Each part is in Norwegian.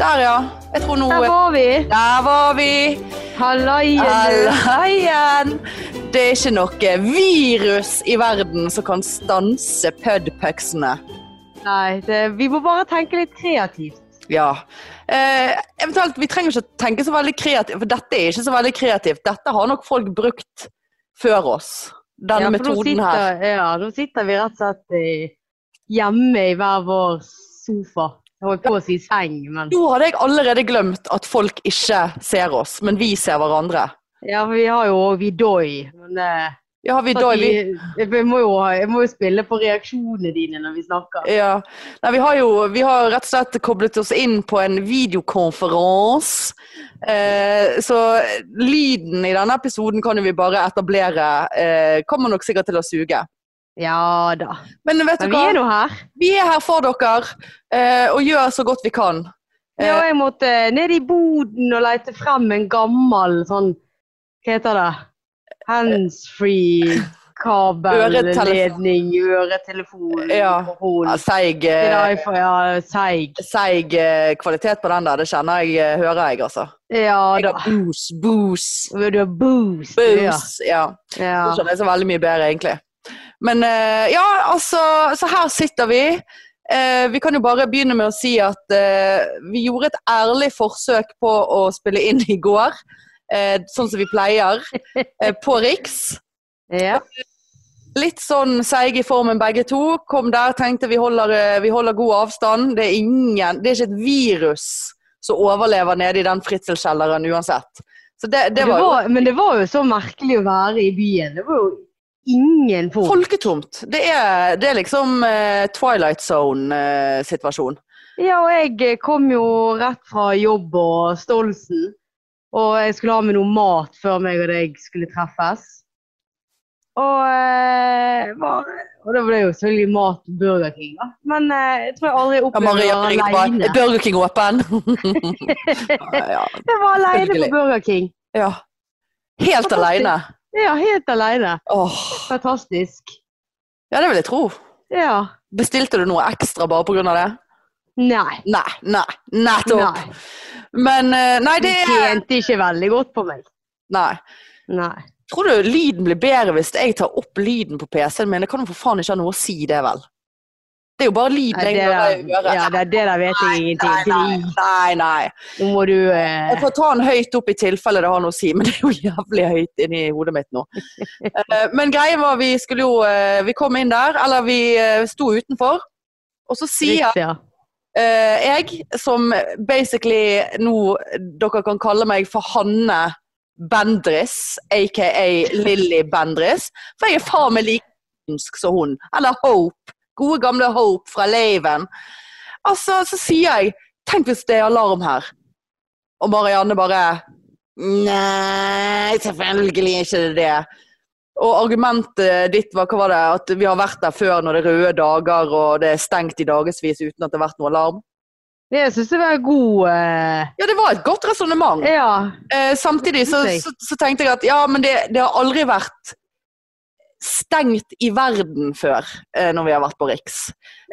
Der, ja. Jeg tror nå Der var vi. Der var vi. Hallaien. Halla igjen. Det er ikke noe virus i verden som kan stanse pudpucksene. Nei, det, vi må bare tenke litt kreativt. Ja. Eh, eventuelt, Vi trenger ikke å tenke så veldig kreativt, for dette er ikke så veldig kreativt. Dette har nok folk brukt før oss, denne Ja, for nå metoden her. sitter, Ja, nå sitter vi rett og slett eh, hjemme i hver vår sofa. Jeg holdt på å si seng, men Nå hadde jeg allerede glemt at folk ikke ser oss, men vi ser hverandre. Ja, for vi har jo òg Vidoi. Men eh, Ja, vi, da, er vi, vi, vi må jo, jeg må jo spille på reaksjonene dine når vi snakker. Ja. Nei, vi har jo vi har rett og slett koblet oss inn på en videokonferanse. Eh, så lyden i denne episoden kan jo vi bare etablere. Eh, kommer nok sikkert til å suge. Ja da. Men vet Men du vi hva? er nå her. Vi er her for dere eh, og gjør så godt vi kan. Ja, Eh, og jeg måtte ned i boden og lete frem en gammel sånn Hva heter det? Handsfree kabelledning, øretelefon Ja. på hånden. Ja, Seig Til eh, iPhone, ja, seig. seig, eh, kvalitet på den der, det kjenner jeg, eh, hører jeg, altså. Ja Jeg da. har boos, boos, Vil du ha boost? Ja. boos. Ja. ja. Nå skjønner jeg så veldig mye bedre, egentlig. Men eh, ja, altså, så her sitter vi. Eh, vi kan jo bare begynne med å si at eh, vi gjorde et ærlig forsøk på å spille inn i går, eh, sånn som vi pleier, eh, på Riks. ja. Litt sånn seige i formen begge to. Kom der, tenkte vi holder, eh, vi holder god avstand. Det er ingen, det er ikke et virus som overlever nede i den fritselskjelleren uansett. Så det, det var jo men det var jo så merkelig å være i byen. Det var jo ingen folk. Folketomt. Det er, det er liksom eh, Twilight Zone-situasjon. Ja, og jeg eh, kom jo rett fra jobb og Stolsen. Og jeg skulle ha med noe mat før meg og deg skulle treffes. Og, eh, var, og da ble det jo selvfølgelig mat Burger King, da. Men eh, jeg tror jeg aldri ja, opplevde Maria å ringte være bare Er aleine. Burger King åpen? ja, Jeg var aleine Selvfølgelig. på Burger King. ja. Helt Fantastisk. aleine. Ja, helt aleine. Åh. Fantastisk. Ja, det vil jeg tro. Ja. Bestilte du noe ekstra bare pga. det? Nei. Nei, nei, nettopp. Nei. Men eh, Nei, De det er tjente ikke veldig godt på meg. Nei. Nei. Tror du lyden blir bedre hvis jeg tar opp lyden på PC-en min? Det kan jo for faen ikke ha noe å si, det, vel? Det er jo bare lyden Nei, det, jeg hører i der, øret. ja, det, det der vet jeg ingenting Nei, til. nei, nei. Nå må du Jeg eh, får ta den høyt opp i tilfelle det har noe å si, men det er jo jævlig høyt inni hodet mitt nå. Eh, Men greia var vi skulle jo eh, Vi kom inn der, eller vi eh, sto utenfor. Og så sier riktig, ja. eh, jeg, som basically nå dere kan kalle meg for Hanne Bendris, aka Lilly Bendris, for jeg er faen meg like synsk som hun. Eller Hope. Gode gamle Hope fra Laven. Altså, så sier jeg Tenk hvis det er alarm her. Og Marianne bare Nei, selvfølgelig er ikke det det. Og argumentet ditt var hva var det? At vi har vært der før når det er røde dager og det er stengt i dagevis uten at det har vært noe alarm. Det jeg syns det var god eh, Ja, det var et godt resonnement. Ja. Eh, samtidig så, Synes jeg. så, så tenkte jeg at ja, men det, det har aldri vært stengt i verden før eh, når vi har vært på Riks.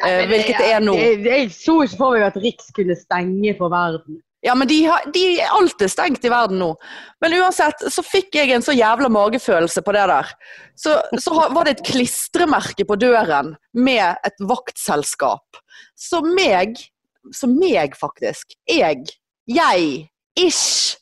Eh, men det- hvilket det er nå. Jeg, jeg så ikke for meg at Riks kunne stenge for verden. Ja, men de har, de, alt er stengt i verden nå. Men uansett så fikk jeg en så jævla magefølelse på det der. Så, så ha- var det et klistremerke på døren med et vaktselskap. Så meg, så meg faktisk, jeg, jeg, ish,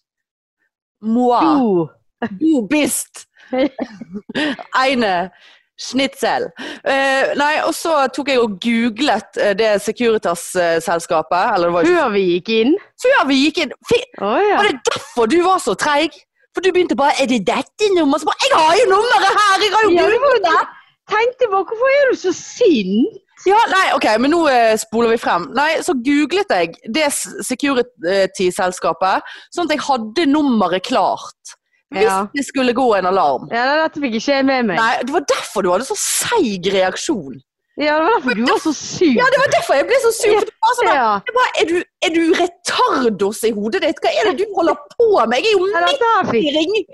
moi. Du! Du bist eine eh, schnitzel. Eh, nei, og så tok jeg og googlet eh, det Securitas-selskapet. Eller det var ikke Før vi gikk inn. Før vi gikk inn! Fy, Å ja. var det derfor du var så treig? For du begynte bare 'Er det dette nummeret?' Så bare 'Jeg har jo nummeret her!' Jeg har jo Ja, det var googlet det! Tenkte bare Hvorfor er du så sint? Ja, nei, ok, men nå eh, spoler vi frem. Nei, så googlet jeg det s- security-selskapet, sånn at jeg hadde nummeret klart. Hvis Ja. det skulle gå en alarm. Ja, nei, Dette fikk ikke jeg med meg. Nei, det var derfor du hadde så seig reaksjon. Ja, Det var derfor du var så sur. Ja, det var derfor jeg ble så sur. For det var sånn der, Ja. jeg bare, er, du, er du retardos i hodet ditt? Hva er det du holder på med? Jeg er jo Ja, midt dette, her i fikk, ring!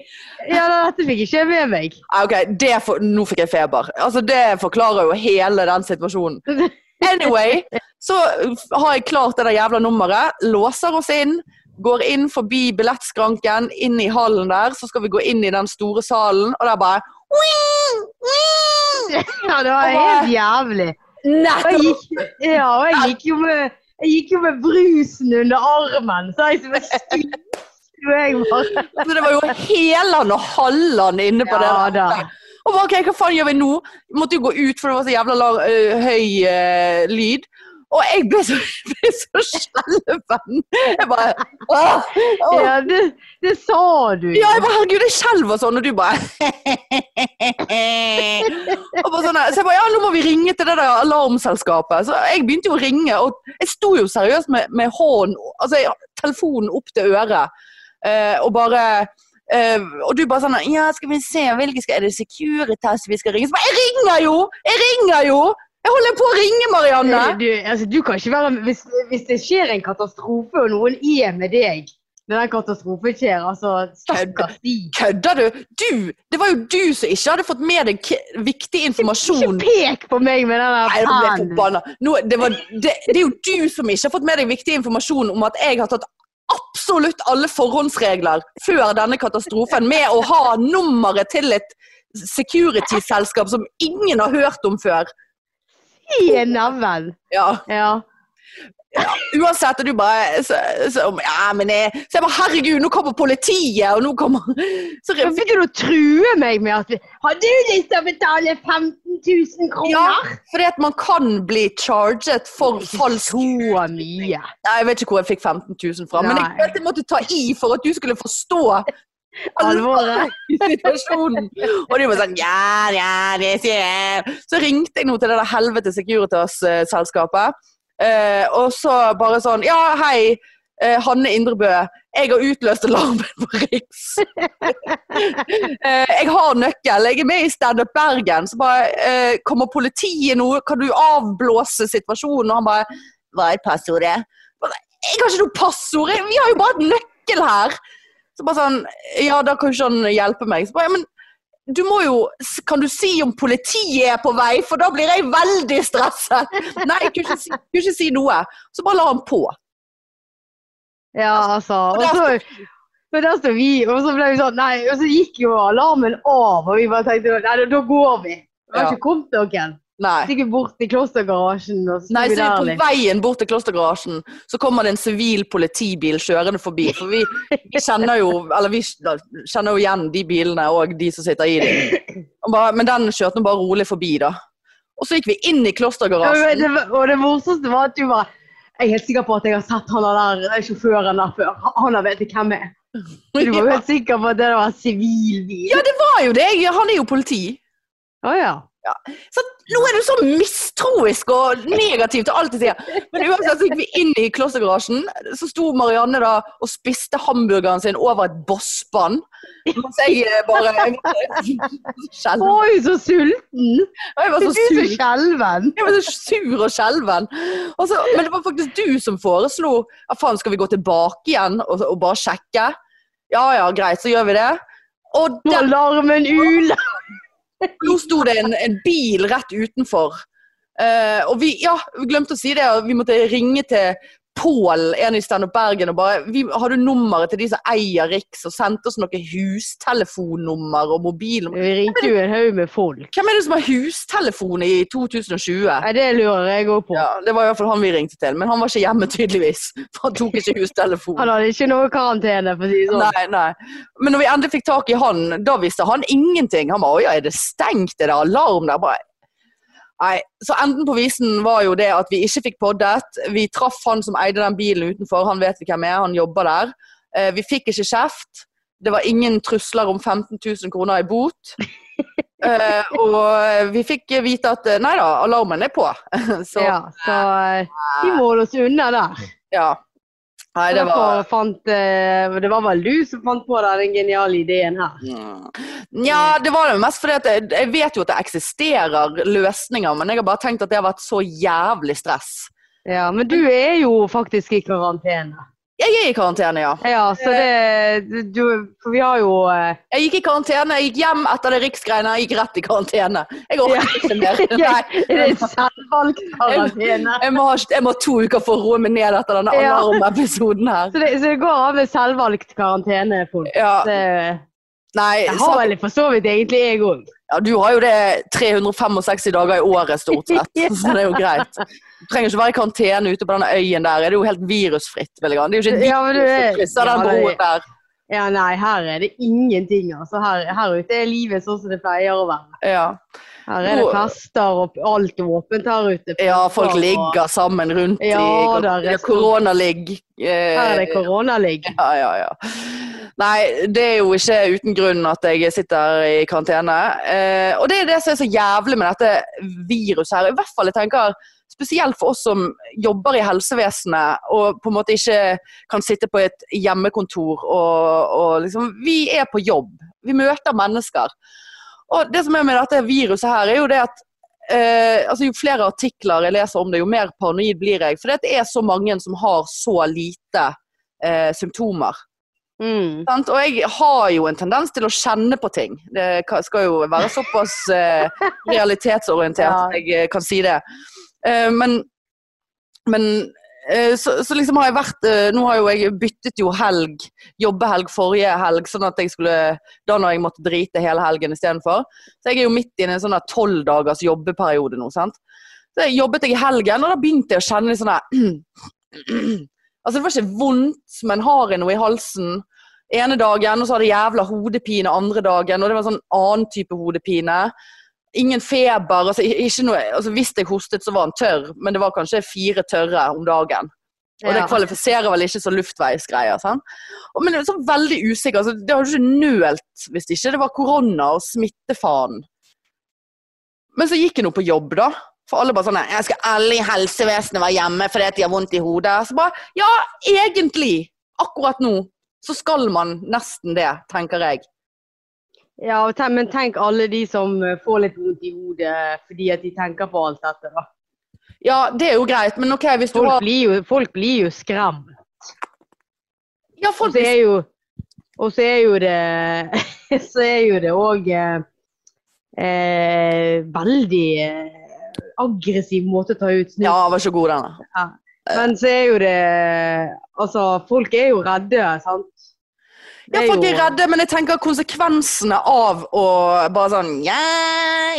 ja, nei, dette fikk ikke jeg med meg. Ah, ok, det for, nå fikk jeg feber. Altså, det forklarer jo hele den situasjonen. Anyway, så har jeg klart det der jævla nummeret. Låser oss inn. Går inn forbi billettskranken, inn i hallen der. Så skal vi gå inn i den store salen, og der bare «Wing! Wing!» Ja, det var helt jævlig. Og jeg Nettopp! gikk, ja, og jeg gikk jo med jeg gikk jo med brusen under armen, så jeg som en stiv- så jeg bare. Så det var jo Heland og Halland inne på det. der. Ja da. Og bare, ok, hva faen gjør vi nå? Måtte jo gå ut, for det var så jævla lang, ø, høy ø, lyd. Og jeg ble så, ble så skjelven. Jeg bare åh, åh. Ja, det, det sa du. Ja, jeg bare, herregud, jeg skjelver sånn, og du bare og bare sånn, Så jeg bare, ja, nå må vi ringe til det der alarmselskapet. Så jeg begynte jo å ringe, og jeg sto jo seriøst med, med hånden, altså jeg- telefonen opp til øret, eh, og bare eh, og du bare sånn Ja, skal vi se, hvilke skal, er det Securitas vi skal ringe? Så bare, jeg ringer jo! Jeg ringer jo! Jeg holder på å ringe, Marianne! Du, altså, du kan ikke være med, hvis, hvis det skjer en katastrofe, og noen er med deg når den katastrofen skjer, altså stakkars de. Kødder du? Du! Det var jo du som ikke hadde fått med deg k viktig Ikke informasjon. pek på meg med den Nei, der nå ble jeg pennen. forbanna. Nå, det, var, det, det er jo du som ikke har fått med deg viktig informasjon om at jeg har tatt absolutt alle forhåndsregler før denne katastrofen med å ha nummeret til et security-selskap som ingen har hørt om før. I neven. Ja, Ja. Uansett, og du bare så, så, ja, men jeg, så jeg bare Herregud, nå kommer politiet, og nå kommer så, Men Begynte du å true meg med at vi- Har du lyst til å betale 15 000 kroner? Ja, fordi at man kan bli charget for falsk Så mye. Nei, Jeg vet ikke hvor jeg fikk 15 000 fra, men jeg Nei. følte jeg måtte ta i for at du skulle forstå Alvoret. i situasjonen. Og de var sånn ja, ja, det sier jeg. Så ringte jeg nå til det der helvete Securitas-selskapet. eh, og så bare sånn Ja, hei, eh, Hanne Indrebø. Jeg har utløst alarmen på Riks. Eh, jeg har nøkkel. Jeg er med i Stand Up Bergen. Så bare eh, Kommer politiet nå? Kan du avblåse situasjonen? Og han bare Hva er passordet? Jeg bare, Jeg har ikke noe passord! Jeg- Vi har jo bare et nøkkel her! Så bare sånn Ja, da kan ikke han hjelpe meg. Så bare, ja, men du må jo Kan du si om politiet er på vei? For da blir jeg veldig stresset! Nei, jeg kunne ikke si, kunne ikke si noe. Så bare la han på. Ja, altså. Og Og der så, men der står vi, og så ble vi sånn Nei, og så gikk jo alarmen av, og vi bare tenkte Nei, da, da går vi. Vi har Ja. ikke kommet noen. Så Nei. gikk vi bort til klostergarasjen, og så sto Nei, så vi der På litt. veien bort til klostergarasjen så kommer det en sivil politibil kjørende forbi. For vi, vi kjenner jo eller vi kjenner jo igjen de bilene og de som sitter i dem. Og bare, men den kjørte nå bare rolig forbi, da. Og så gikk vi inn i Ja, men klostergarasjen. det var- Og det morsomste var at du bare Jeg er helt sikker på at jeg har sett han der eh, sjåføren der før. Han- Han har vet jeg hvem jeg er. Så Du var jo helt sikker på at det var en sivilbil. Ja, det var jo det! Jeg- Han er jo politi. Å ja. Så nå er du så mistroisk og negativ til alt du sier. Men uansett så gikk vi inn i klostergarasjen. Så sto Marianne da og spiste hamburgeren sin over et bosspann. Mens jeg eh, bare jeg måtte- Å, skjelv. jeg er så sulten! Og jeg var Det så er du som sur. skjelven. Jeg var så sur og skjelven. Og så- Men det var faktisk du som foreslo ja, faen, skal vi gå tilbake igjen og, og bare sjekke. Ja ja, greit, så gjør vi det. Og Må der alarmen ule! Nå sto det en, en bil rett utenfor. Eh, og vi, ja, vi glemte å si det, og vi måtte ringe til Pål, en i Stand Up Bergen, og bare vi, 'Har du nummeret til de som eier Riks?' og sendte oss noe hustelefonnummer og mobilnummer. Vi ringte jo en haug med folk. Hvem er det som har hustelefon i 2020? Nei, Det lurer jeg òg på. Ja, det var i hvert fall han vi ringte til, men han var ikke hjemme, tydeligvis. For han tok ikke hustelefon. Han hadde ikke noe karantene, for å si det sånn. Nei, nei. Men når vi endelig fikk tak i han, da visste han ingenting. Han bare 'Å ja, er det stengt? Er det alarm der?' Bare, nei. Så enden på visen var jo det at vi ikke fikk poddet. Vi traff han som eide den bilen utenfor. Han vet vi hvem er, han jobber der. Eh, Vi fikk ikke kjeft. Det var ingen trusler om 15 000 kroner i bot. Eh, og vi fikk vite at eh, nei da, alarmen er på. Så Ja, så eh, vi må holde oss unna der. ja. Nei, det var Derfor fant, eh, det var vel du som fant på da, den geniale ideen her. Nja, Mm. det var det mest fordi at jeg, jeg vet jo at det eksisterer løsninger, men jeg har bare tenkt at det har vært så jævlig stress. Ja, Men du er jo faktisk i karantene. Jeg er i karantene, ja. Ja, så det du, For vi har jo eh, Jeg gikk i karantene, jeg gikk hjem etter det riksgreiene, jeg gikk rett i karantene. Jeg orker ikke mer. Nei. Er det en selvvalgt karantene? Jeg må, ha, jeg må ha to uker for å roe meg ned etter denne Ja. alarmepisoden her. Så det, så det går av med selvvalgt karantene, folk. Ja, Det, nei, jeg har så, vel for så vidt egentlig jeg òg. ja, du har jo det 365 dager i året stort sett, så det er jo greit. Du trenger ikke være i karantene ute på denne øyen der, det er jo helt virusfritt. Vel, det er jo ikke Ja, men et du virus som er- krysser Ja, den det- broen der. Ja, nei, her er det ingenting, altså. Her, her ute er livet sånn som det pleier å være. Ja. Her er det Nå- fester og alt er åpent her ute. Ja, folk Og- ligger sammen rundt i Ja, da, det er resten- koronaligg. Eh, Her er det koronaligg. ja, ja, ja. Nei, det er jo ikke uten grunn at jeg sitter i karantene. Eh, og det er det som er så jævlig med dette viruset her. I hvert fall jeg tenker spesielt for oss som jobber i helsevesenet og på en måte ikke kan sitte på et hjemmekontor og, og liksom Vi er på jobb. Vi møter mennesker. Og det som er med dette viruset her, er jo det at eh, altså jo flere artikler jeg leser om det, jo mer paranoid blir jeg. For det er så mange som har så lite eh, symptomer. Mm. Sant? Og jeg har jo en tendens til å kjenne på ting. Det ka- skal jo være såpass eh, realitetsorientert Ja. at jeg eh, kan si det. Eh, men men eh, så, så liksom har jeg vært eh, Nå har jo jeg byttet jo helg, jobbehelg forrige helg, sånn at jeg skulle da når jeg måtte drite hele helgen istedenfor. Så jeg er jo midt i en sånn der tolv dagers jobbeperiode nå. sant? Så jeg jobbet jeg i helgen, og da begynte jeg å kjenne litt sånn der Altså, det var ikke vondt, men har jeg noe i halsen? ene dagen, og så hadde jeg jævla hodepine andre dagen, og det var sånn annen type hodepine. Ingen feber. altså i- ikke noe, altså Hvis jeg hostet, så var den tørr, men det var kanskje fire tørre om dagen. Og Ja. det kvalifiserer vel ikke som luftveisgreier. sant? Og, men det er så veldig usikker. altså Det hadde ikke nølt hvis ikke det var korona og smittefaen. Men så gikk jeg nå på jobb, da. For alle bare sånn «Nei, Jeg skal alle i helsevesenet være hjemme fordi at de har vondt i hodet. Så bare Ja, egentlig! Akkurat nå så skal man nesten det, tenker jeg. Ja, og ten, men tenk alle de som eh, får litt vondt i hodet fordi at de tenker på alt dette. da. Ja, det er jo greit, men ok, hvis du Folk har blir jo, folk blir jo skremt. Ja, Og folk så er jo, og så er jo det Så er jo det òg eh, eh, veldig eh, aggressiv måte å ta ut snus Ja, var ikke god denne. Men så er jo det Altså, folk er jo redde, sant? Det Ja, er folk jo- er redde, men jeg tenker konsekvensene av å bare sånn Ja,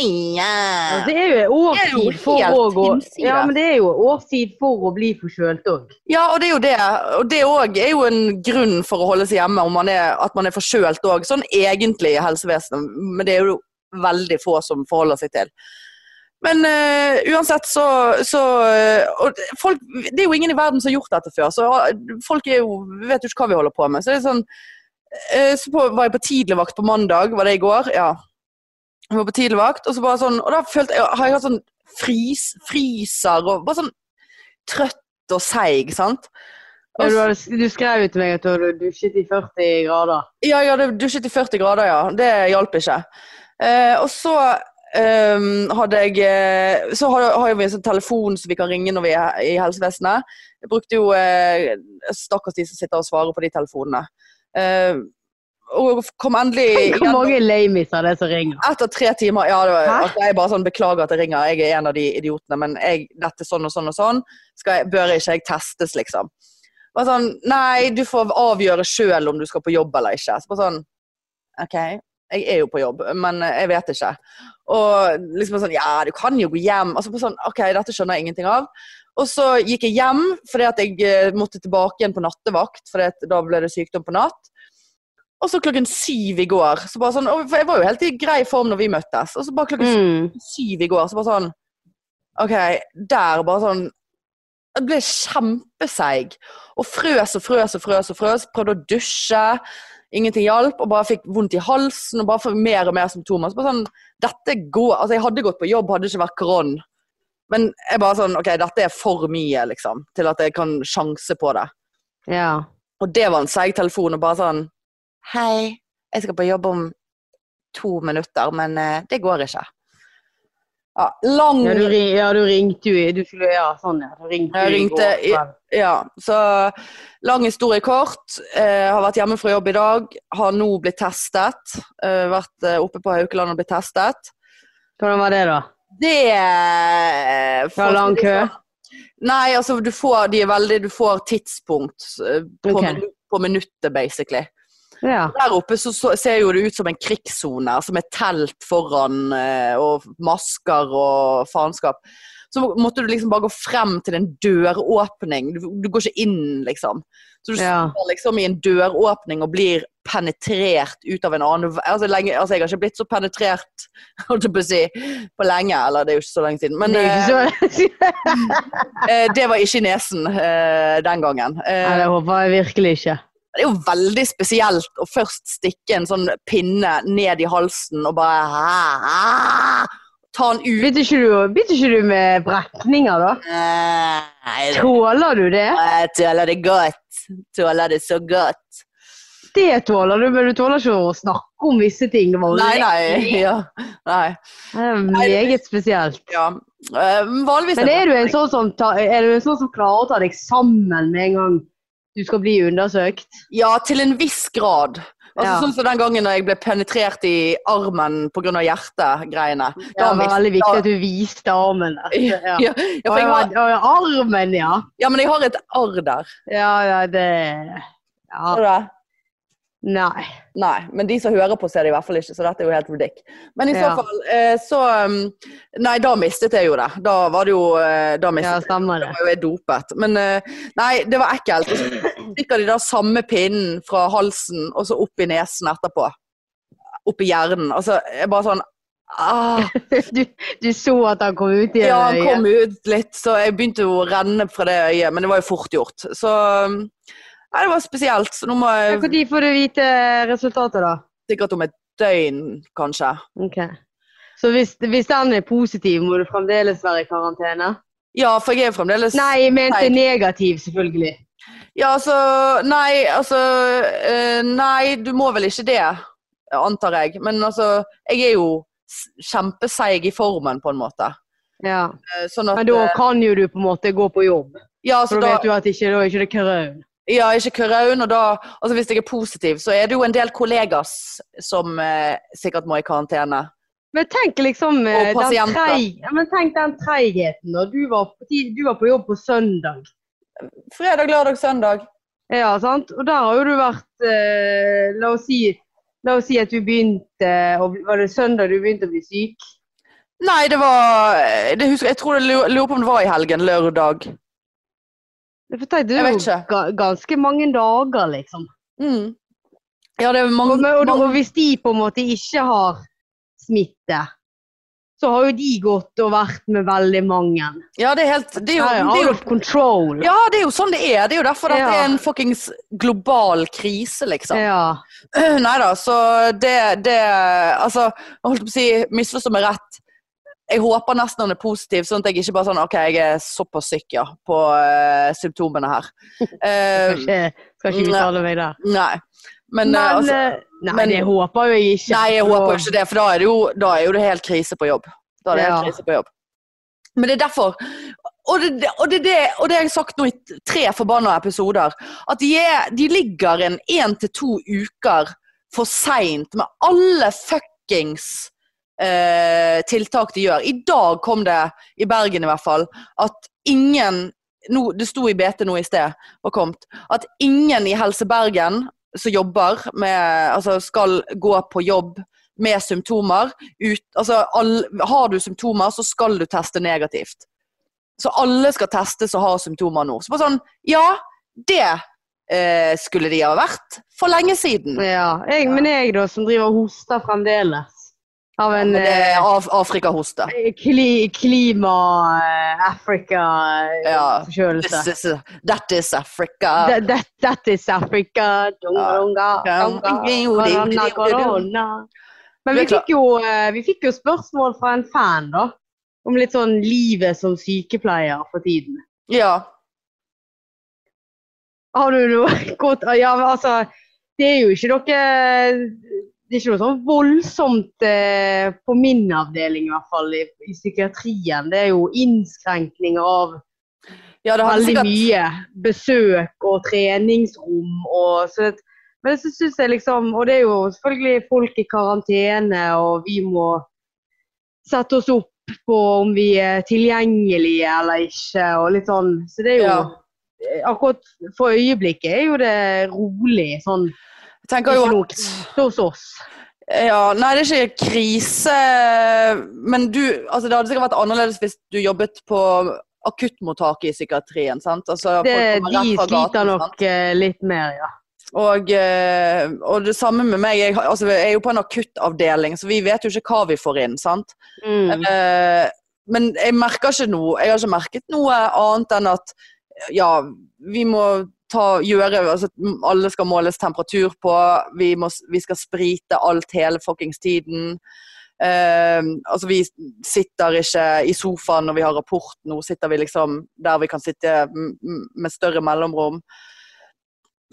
Ja, ja. altså, Det er jo årstid for helt å gå hinsides. Ja, men det er jo årstid for å bli forkjølt òg. Ja, og det er jo det. Og det òg er jo en grunn for å holde seg hjemme, om man er, at man er forkjølt òg. Sånn egentlig i helsevesenet, men det er jo veldig få som forholder seg til. Men eh, uansett så, så eh, og folk, Det er jo ingen i verden som har gjort dette før, så har- folk er jo, vet jo ikke hva vi holder på med. Så det er sånn eh, Så på, var jeg på tidligvakt på mandag, var det i går? Ja. Jeg var på tidligvakt, og så bare sånn Og da følte jeg, har jeg hatt sånn frys, fryser og bare sånn trøtt og seig, sant? Og Du, så- hadde- du skrev jo til meg at du hadde dusjet i 40 grader. Ja, jeg hadde dusjet i 40 grader, ja. Det hjalp ikke. Eh, og så ehm, hadde jeg eh, Så har, har jo vi en sånn telefon som vi kan ringe når vi er i helsevesenet. Jeg brukte jo eh, Stakkars de som sitter og svarer på de telefonene. Eh, og kom endelig Tenk hvor mange lamies av det som ringer. etter tre timer ja, det var, Hæ? altså, Jeg bare sånn, beklager at jeg ringer, jeg er en av de idiotene, men jeg, dette er sånn og sånn og sånn, skal jeg, bør ikke jeg testes, liksom? Bare sånn, Nei, du får avgjøre sjøl om du skal på jobb eller ikke. Så bare sånn, OK, jeg er jo på jobb, men eh, jeg vet ikke. Og liksom sånn Ja, du kan jo gå hjem. Altså bare sånn, OK, dette skjønner jeg ingenting av. Og så gikk jeg hjem fordi at jeg eh, måtte tilbake igjen på nattevakt, for da ble det sykdom på natt. Og så klokken syv i går så bare sånn, og- For jeg var jo helt i grei form når vi møttes. Og så bare klokken Mm. syv i går så bare sånn OK, der bare sånn Jeg ble kjempeseig. Og frøs og frøs og frøs og frøs. Prøvde å dusje. Ingenting hjalp. Og bare fikk vondt i halsen og bare fikk mer og mer symptomer. Så bare sånn Dette går Altså, jeg hadde gått på jobb, hadde ikke vært koron. Men jeg bare sånn OK, dette er for mye, liksom. Til at jeg kan sjanse på det. Ja. Og det var en seig telefon, og bare sånn Hei, jeg skal på jobb om to minutter, men eh, det går ikke. Ja, lang Ja, du, ri- ja, du ringte jo i du skulle, Ja, sånn, ja. Du ringte Jeg jo i ringte går i- kveld. Ja, så lang historie kort. Eh, har vært hjemme fra jobb i dag. Har nå blitt testet. Eh, vært eh, oppe på Haukeland og blitt testet. Hvordan var det, da? Det eh, for å si Det lang kø? sånn- Nei, altså du får, de er veldig, du får tidspunkt eh, på, Ok. minu, på minuttet, basically. Ja. Der oppe så, så ser jo det ut som en krigssone, som er telt foran eh, og masker og faenskap. Så må- måtte du liksom bare gå frem til en døråpning. Du, du går ikke inn, liksom. Så du Ja. står liksom i en døråpning og blir penetrert ut av en annen ver- altså, lenge, altså, jeg har ikke blitt så penetrert holdt jeg på, å si, på lenge, eller det er jo ikke så lenge siden. Men det er eh, jo ikke så eh, det var ikke i nesen eh, den gangen. Eh, Nei, det håper jeg virkelig ikke. det er jo veldig spesielt å først stikke en sånn pinne ned i halsen og bare "Ah, ah", Ta den ut. Begynte ikke du, begynte ikke du med brekninger, da? Nei, det- Tåler du det? jeg tåler det godt. Tåler det så godt. Det tåler du, men du tåler ikke å snakke om visse ting. Det var Nei, nei. Ja. nei. Det er meget spesielt. Ja. Eh, Vanligvis Men er du en sånn som, ta, er du en sånn som klarer å ta deg sammen med en gang du skal bli undersøkt? Ja, til en viss grad. Altså Ja. Sånn som den gangen da jeg ble penetrert i armen pga. hjertegreiene. Det Da var visste- veldig viktig at du viste armen. der. Ja, Ja. ja, ja, for jeg Å, har, ja, å, ja, armen, ja. ja, men jeg har et arr der. Ja, ja, det Har du ja. det? Nei. Nei, men de som hører på, ser det i hvert fall ikke, så dette er jo helt ridic. Men i Ja. så fall, eh, så um, Nei, da mistet jeg jo det. Da var det jo eh, Da Ja, mistet jeg stemmer det. Da det. var jo jeg dopet. Men eh, nei, det var ekkelt. Og så stikker de da samme pinnen fra halsen og så opp i nesen etterpå. Opp i hjernen. Altså, jeg bare sånn ah. Du, du så at han kom ut igjen? Ja, han kom ut litt, så jeg begynte jo å renne fra det øyet, men det var jo fort gjort. Så mm, Nei, det var spesielt. Så nå må jeg Når får du vite resultatet, da? sikkert om et døgn, kanskje. Ok. Så hvis, hvis den er positiv, må du fremdeles være i karantene? Ja, for jeg er jo fremdeles Nei, jeg mente negativ, selvfølgelig. Ja, altså Nei, altså eh, Nei, du må vel ikke det, antar jeg. Men altså, jeg er jo s- kjempeseig i formen, på en måte. Ja. Eh, Sånn at Men da eh, kan jo du på en måte gå på jobb. Ja, så For da da vet du at ikke, da er ikke det karaun. Ja, ikke kuraun, og da Altså, hvis jeg er positiv, så er det jo en del kollegas som eh, sikkert må i karantene. Men tenk liksom eh, Og den, pasienter. treig, ja, men tenk den treigheten. når du, var på ti- du var på jobb på søndag. Fredag, lørdag, søndag. Ja, sant? Og der har jo du vært eh, la, oss si, la oss si at du begynte å bli- Var det søndag du begynte å bli syk? Nei, det var eh, det husker, Jeg tror det lurer lurer på om det var i helgen. Lørdag. For tenk, det Jeg er vet jo ikke. ga, ganske mange dager, liksom. Mm. Ja, det er mange, Og, men- og, da- mange og hvis de på en måte ikke har smitte, så har jo de gått og vært med veldig mange. Ja, det er helt Det er jo, Her er det er out jo of control. Ja, det er jo sånn det er. Det er jo derfor at det Ja. er en fuckings global krise, liksom. Ja. Nei da, så det, det Altså, jeg holdt på å si, misforstå meg rett. Jeg håper nesten han er positiv, sånn at jeg ikke bare sånn OK, jeg er såpass syk, ja, på eh, symptomene her. Eh, Skal ikke, skal ikke Nei. uttale meg der. nei. Men, Men, eh, altså, eh, nei, men- det håper jo jeg ikke. nei, jeg håper ikke det, for da er det jo, da er jo det helt krise på jobb. Da er det Ja. helt krise på jobb. Men det er derfor og det, det- og, det, er det, og det har jeg sagt nå i tre forbanna episoder, at de, er, de ligger en én til to uker for seint med alle fuckings eh, tiltak de gjør. I dag kom det, i Bergen i hvert fall, at ingen nå- Det sto i BT nå i sted og kommet, at ingen i Helse Bergen som jobber med Altså skal gå på jobb med symptomer. Ut, altså, all, har du symptomer, så skal du teste negativt. Så alle skal testes og har symptomer nå. Så bare sånn, ja, det eh, skulle de ha vært for lenge siden. Ja, jeg, men jeg da, som driver og hoster fremdeles av en Men det er eh, Af Afrikahoste. kli, eh, Ja. klima-Africa-forkjølelse. This is, that is Africa. that, that is Africa. Dunga, Ja. dunga, Ah. Ja. dunga. Ja. Korona, korona. Men vi Det er klart. fikk, jo, eh, vi fikk jo spørsmål fra en fan da, om litt sånn livet som sykepleier for tiden. Ja. Har du noe godt Ja, men altså Det er jo ikke noe det er ikke noe sånn voldsomt eh, på min avdeling, i hvert fall i, i psykiatrien. Det er jo innskrenkninger av Ja, det hadde veldig sikkert mye besøk og treningsrom og så det, Men så syns jeg liksom Og det er jo selvfølgelig folk i karantene, og vi må sette oss opp på om vi er tilgjengelige eller ikke, og litt sånn. Så det er jo eh, Ja. Akkurat for øyeblikket er jo det rolig sånn Jeg tenker jo ikke at noe hos oss. Ja, nei, det er ikke krise. Men du Altså, det hadde sikkert vært annerledes hvis du jobbet på akuttmottaket i psykiatrien, sant? Altså, Det, folk kommer de rett fra sliter gaten, sant? nok eh, litt mer, ja. Og, eh, og det samme med meg. Jeg, har- altså, jeg er jo på en akuttavdeling, så vi vet jo ikke hva vi får inn, sant? Mm. Eh, men jeg merker ikke noe. Jeg har ikke merket noe annet enn at ja, vi må ta, gjøre altså, at Alle skal måles temperatur på. Vi, må, s- vi skal sprite alt hele fuckings tiden. Eh, altså vi sitter ikke i sofaen når vi har rapport nå, sitter vi liksom der vi kan sitte m- m- med større mellomrom.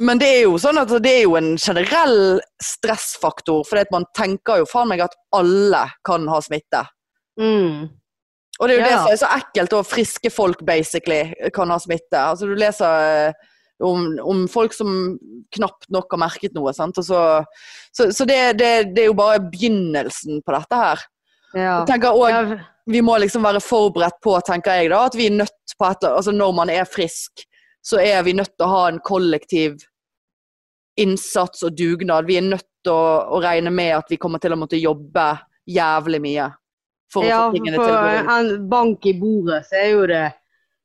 Men det er jo sånn at det er jo en generell stressfaktor, for man tenker jo faen meg at alle kan ha smitte. Mm. Og det er jo Ja, det ja. som er så ekkelt, og friske folk basically kan ha smitte. Altså Du leser eh, om, om folk som knapt nok har merket noe. sant? Og så så, så det, det, det er jo bare begynnelsen på dette her. Ja. Jeg tenker også, Ja, Vi må liksom være forberedt på tenker jeg da, at vi er nødt på et, altså når man er frisk, så er vi nødt til å ha en kollektiv innsats og dugnad. Vi er nødt til å, å regne med at vi kommer til å måtte jobbe jævlig mye for ja, å få tingene til å gå for rundt. en bank i bordet, så er jo det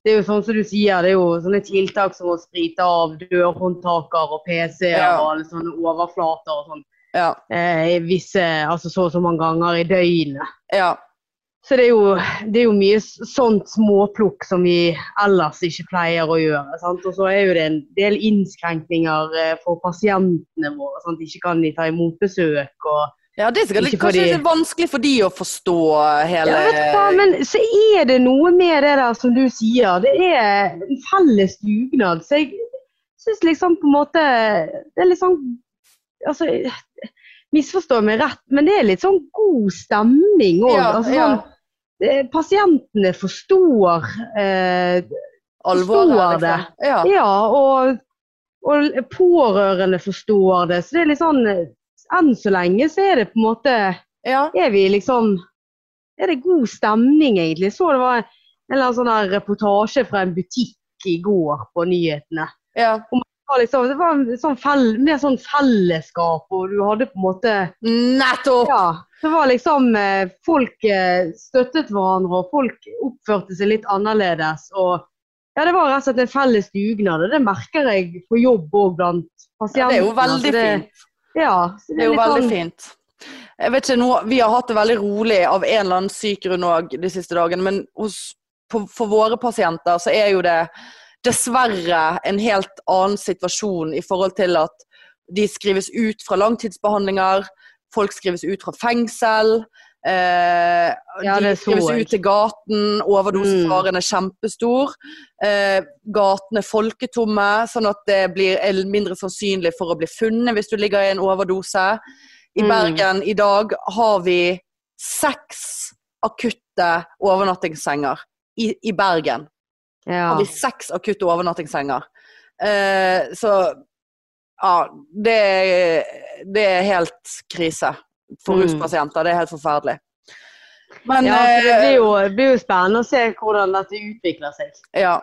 Det er jo sånn som du sier, det er jo sånne tiltak som å sprite av dørhåndtaker og PC-er Ja. og alle sånne overflater og sånn. Ja. Eh, i visse, altså så og så mange ganger i døgnet. Ja. Så det er jo, det er jo mye s- sånt småplukk som vi ellers ikke pleier å gjøre. sant? Og så er jo det en del innskrenkninger eh, for pasientene våre. sant? Ikke kan de ta imot besøk og Ja, det er sikkert litt, Ikke for kanskje de- litt vanskelig for de å forstå hele Ja, vet du hva, men så er det noe med det der som du sier. Det er en felles dugnad. Så jeg syns liksom på en måte Det er litt sånn Altså, misforstå meg rett, men det er litt sånn god stemning òg. Ja, altså, ja. sånn, eh, pasientene forstår eh, alvoret. forstår liksom. Ja. ja, og, og pårørende forstår det. Så det er litt sånn eh, Enn så lenge så er det på en måte Ja. er vi liksom Er det god stemning, egentlig? Jeg Så det var en eller annen sånn her reportasje fra en butikk i går på nyhetene. ja. Det var, liksom, det var en sånn fell, mer sånn fellesskap, og du hadde på en måte Nettopp! Ja. Det var liksom eh, Folk eh, støttet hverandre, og folk oppførte seg litt annerledes. og ja, Det var rett og slett en felles dugnad, og det merker jeg på jobb òg blant Ja, pasientene. det er jo veldig så altså det- fint. Ja, så Det er jo litt veldig sånn- fint. Jeg vet ikke, nå, Vi har hatt det veldig rolig av en eller annen syk grunn òg de siste dagene, men hos, på, for våre pasienter så er jo det dessverre en helt annen situasjon i forhold til at de skrives ut fra langtidsbehandlinger, folk skrives ut fra fengsel. Eh, Ja, de det så Mm. skrives jeg. ut til gaten, overdosefaren er kjempestor. Eh, gatene er folketomme, sånn at det blir er mindre sannsynlig for å bli funnet hvis du ligger i en overdose. I Mm. Bergen i dag har vi seks akutte overnattingssenger. I, i Bergen ja. har vi seks akutte overnattingssenger. Eh, så ja, det, det er helt krise for Mm. ruspasienter. Det er helt forferdelig. Men ja, for det eh, blir jo, det blir jo spennende å se hvordan dette utvikler seg. Ja.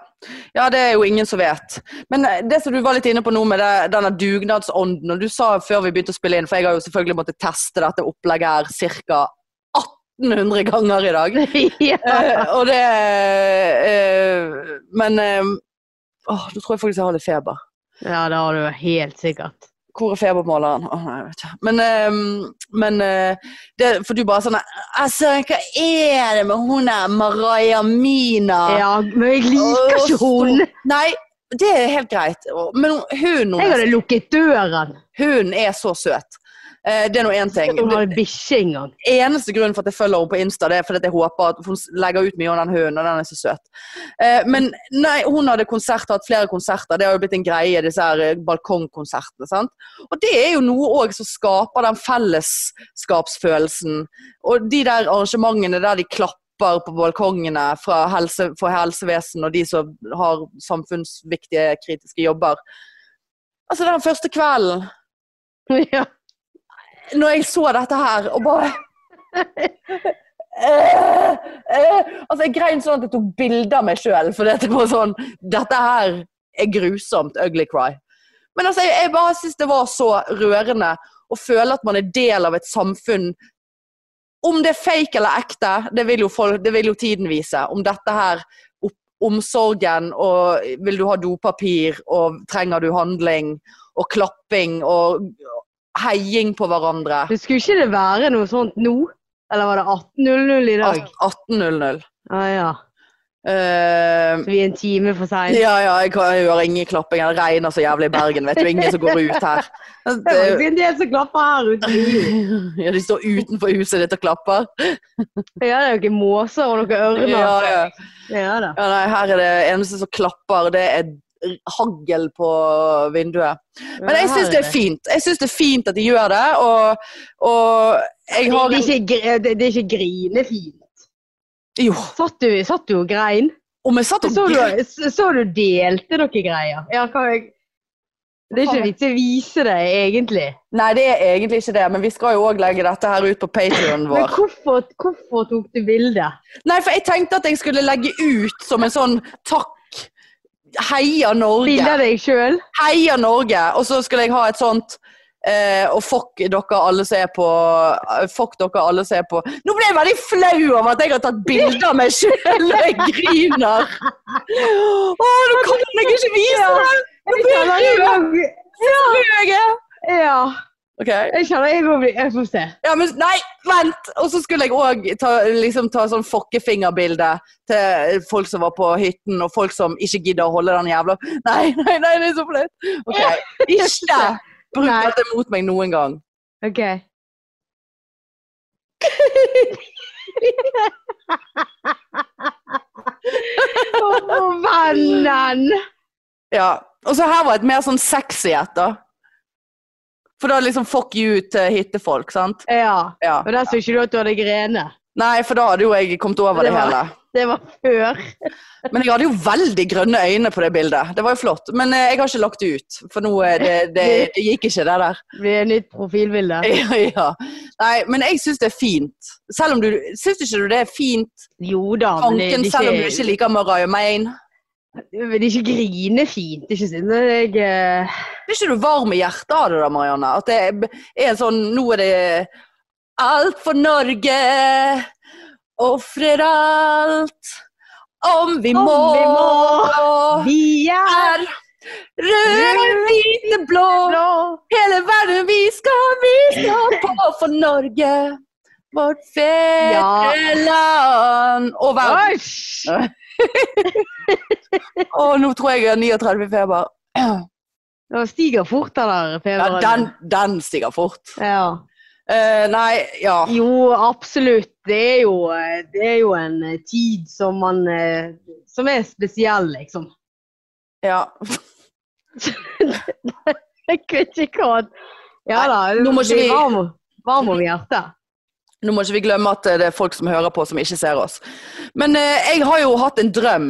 ja, det er jo ingen som vet. Men eh, det som du var litt inne på nå med det, denne dugnadsånden, og du sa før vi begynte å spille inn, for jeg har jo selvfølgelig måttet teste dette opplegget her ca. 1800 ganger i dag. ja. Eh, og det eh, Men eh, åh, nå tror jeg faktisk jeg har litt feber. ja, det har du helt sikkert. Hvor er febermåleren? Åh, nei, jeg vet ikke. Men, ehm, men eh, det, For du bare sånn Altså, hva er det med hun der Mariah Mina? Ja, men jeg liker Åh, ikke hun! Nei, det er helt greit. Og- Men hun, hun, Jeg hadde lukket døren. hun er så søt. Eh, Det er nå én ting. Hun har en bikkje engang. eneste grunnen for at jeg følger henne på Insta, det er fordi at jeg håper at hun legger ut mye om den hunden, og den er så søt. Eh, men nei, hun hadde konsert, hatt flere konserter. Det har jo blitt en greie, disse her eh, balkongkonsertene. sant? Og det er jo noe òg som skaper den fellesskapsfølelsen. Og de der arrangementene der de klapper på balkongene fra helse, for helsevesen og de som har samfunnsviktige, kritiske jobber. Altså, den første kvelden, Ja. når jeg så dette her, og bare Eh, eh, altså Jeg grein sånn at jeg tok bilder av meg sjøl, for dette var sånn Dette her er grusomt. Ugly cry. Men altså, jeg, jeg bare syns det var så rørende å føle at man er del av et samfunn. Om det er fake eller ekte, det vil jo, folk, det vil jo tiden vise. Om dette her opp, Omsorgen og vil du ha dopapir, og trenger du handling, og klapping og heiing på hverandre. Men skulle ikke det være noe sånt nå? Eller var det 18.00 i dag? 18.00. Ah, ja. Eh, Så vi er en time for seint. Ja, ja, jeg kan- jeg hører ingen klapping. Det regner så jævlig i Bergen, vet du. Ingen som går ut her. Det er Det- faktisk en del som klapper her ute. Ja, de står utenfor huset ditt og klapper. Ja, det er jo ikke måser og noen ørner. Ja, ja. Ja da. Ja, nei, her er det eneste som klapper, det er hagl på vinduet. Men jeg syns det er fint. Jeg synes det er fint at de gjør det, og, og jeg har Det er ikke, gr- det- det er ikke grinefint. Jo, Satt du, satt du og grein? om jeg satt og Så du, så du delte dere greier? Ja, hva jeg... Det er ikke vits i å vise det, egentlig. Nei, det er egentlig ikke det, men vi skal jo òg legge dette her ut på Patreon vår. Men hvorfor, hvorfor tok du bilde? Nei, for jeg tenkte at jeg skulle legge ut som en sånn takk. Heia Norge! Bilde av deg sjøl? Heia Norge! Og så skulle jeg ha et sånt eh, Og fuck dere alle som er på eh, Fuck dere alle som er på Nå ble jeg veldig flau over at jeg har tatt bilde av meg sjøl! Jeg griner! Å, nå kan jeg ikke vise det! Nå blir jeg rød! Rød jeg er. Ja. Ok. Jeg kjenner jeg må bli Jeg får se. Ja, men nei, vent! Og så skulle jeg òg ta, liksom, ta sånn fokkefingerbilde til folk som var på hytten, og folk som ikke gidder å holde den jævla Nei, nei, nei, det er så flaut! OK. Ikke bruk Nei. dette mot meg noen gang. OK. Å, vennen! Ja. Og så her var et mer sånn sexy et, da. For da liksom fuck you til hyttefolk, sant? Ja. Ja. Og der så ikke du at du hadde grene. Nei, for da hadde jo jeg kommet over det, Det var- hele. Det var før. Men jeg hadde jo veldig grønne øyne på det bildet. Det var jo flott. Men eh, jeg har ikke lagt det ut, for nå eh, det, det, det gikk ikke, det der. Det blir et nytt profilbilde. Ja, ja. Nei, men jeg syns det er fint. Selv om du, Syns du ikke det er fint, Jo da, men det, tanken, det, selv om du er ikke ikke, liker Mariah Mayne? men det er ikke grinefint. Det er ikke sånn at jeg eh, Blir ikke du varm i hjertet av det da, Marianne? At det er- er sånn Nå er det alt for Norge, ofrer alt, om vi Om må. vi må. Vi er Er røde, hvite, blå, blå. hele verden vi skal, vi skal på for Norge. Vårt fedreland og verden. Æsj! Å, nå tror jeg jeg har 39 feber. Den stiger fort, den der Ja, feberen. den, den stiger fort. Ja. Eh, nei, ja. Jo, absolutt. Det er jo, eh, det er jo en eh, tid som man eh, Som er spesiell, liksom. ja. Jeg vet ikke hva Ja da. nå må ikke blir vi- varm- Varm om hjertet. Nå må ikke vi glemme at eh, det er folk som hører på, som ikke ser oss. Men eh, jeg har jo hatt en drøm.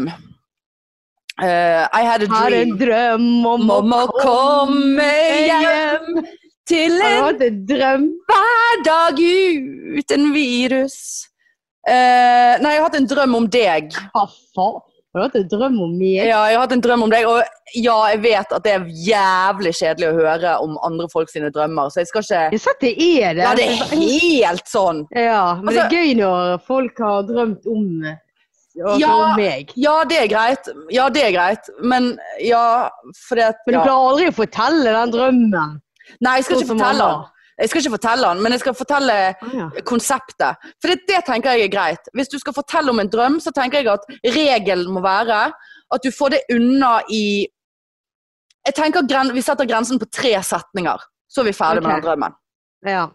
Eh, I had a Har dream. en drøm om Om å komme hjem hjem. til Har du en hatt en drøm? hverdag uten virus. Eh, nei, jeg har hatt en drøm om deg. Hva faen? Har du hatt en drøm om meg? Ja, jeg har hatt en drøm om deg, og ja, jeg vet at det er jævlig kjedelig å høre om andre folk sine drømmer, så jeg skal ikke Jeg sa at det er det. Altså, Ja, det er helt sånn. Ja, men Altså- det er gøy når folk har drømt om, altså, Ja. om meg. Ja, det er greit. Ja, det er greit. Men ja, fordi at Men du ja. klarer aldri å fortelle den drømmen. Sånn Nei, jeg skal ikke fortelle den. Jeg skal ikke fortelle den, men jeg skal fortelle den. konseptet. For det, det tenker jeg er greit. Hvis du skal fortelle om en drøm, så tenker jeg at regelen må være at du får det unna i Jeg tenker gren, Vi setter grensen på tre setninger, så er vi ferdig med Ok. den drømmen. Ja.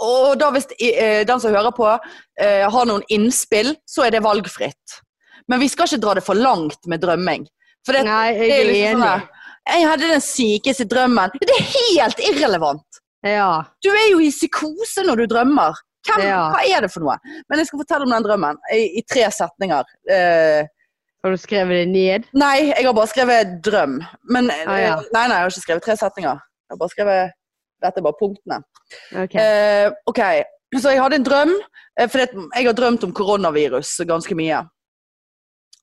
Og da hvis eh, den som hører på eh, har noen innspill, så er det valgfritt. Men vi skal ikke dra det for langt med drømming. For det, Nei, det jeg er er liksom sånn enig. der, jeg hadde den sykeste drømmen. Det er helt irrelevant! Ja. Du er jo i psykose når du drømmer. Hvem, Ja. Hva er det for noe? Men jeg skal fortelle om den drømmen i, i tre setninger. Eh, Har du skrevet det ned? nei, jeg har bare skrevet 'drøm'. Men, eh, Ah, ja. Nei, nei, jeg har ikke skrevet tre setninger. Jeg har bare skrevet, Dette er bare punktene. Ok. Eh, ok, så jeg hadde en drøm, eh, for det, jeg har drømt om koronavirus ganske mye.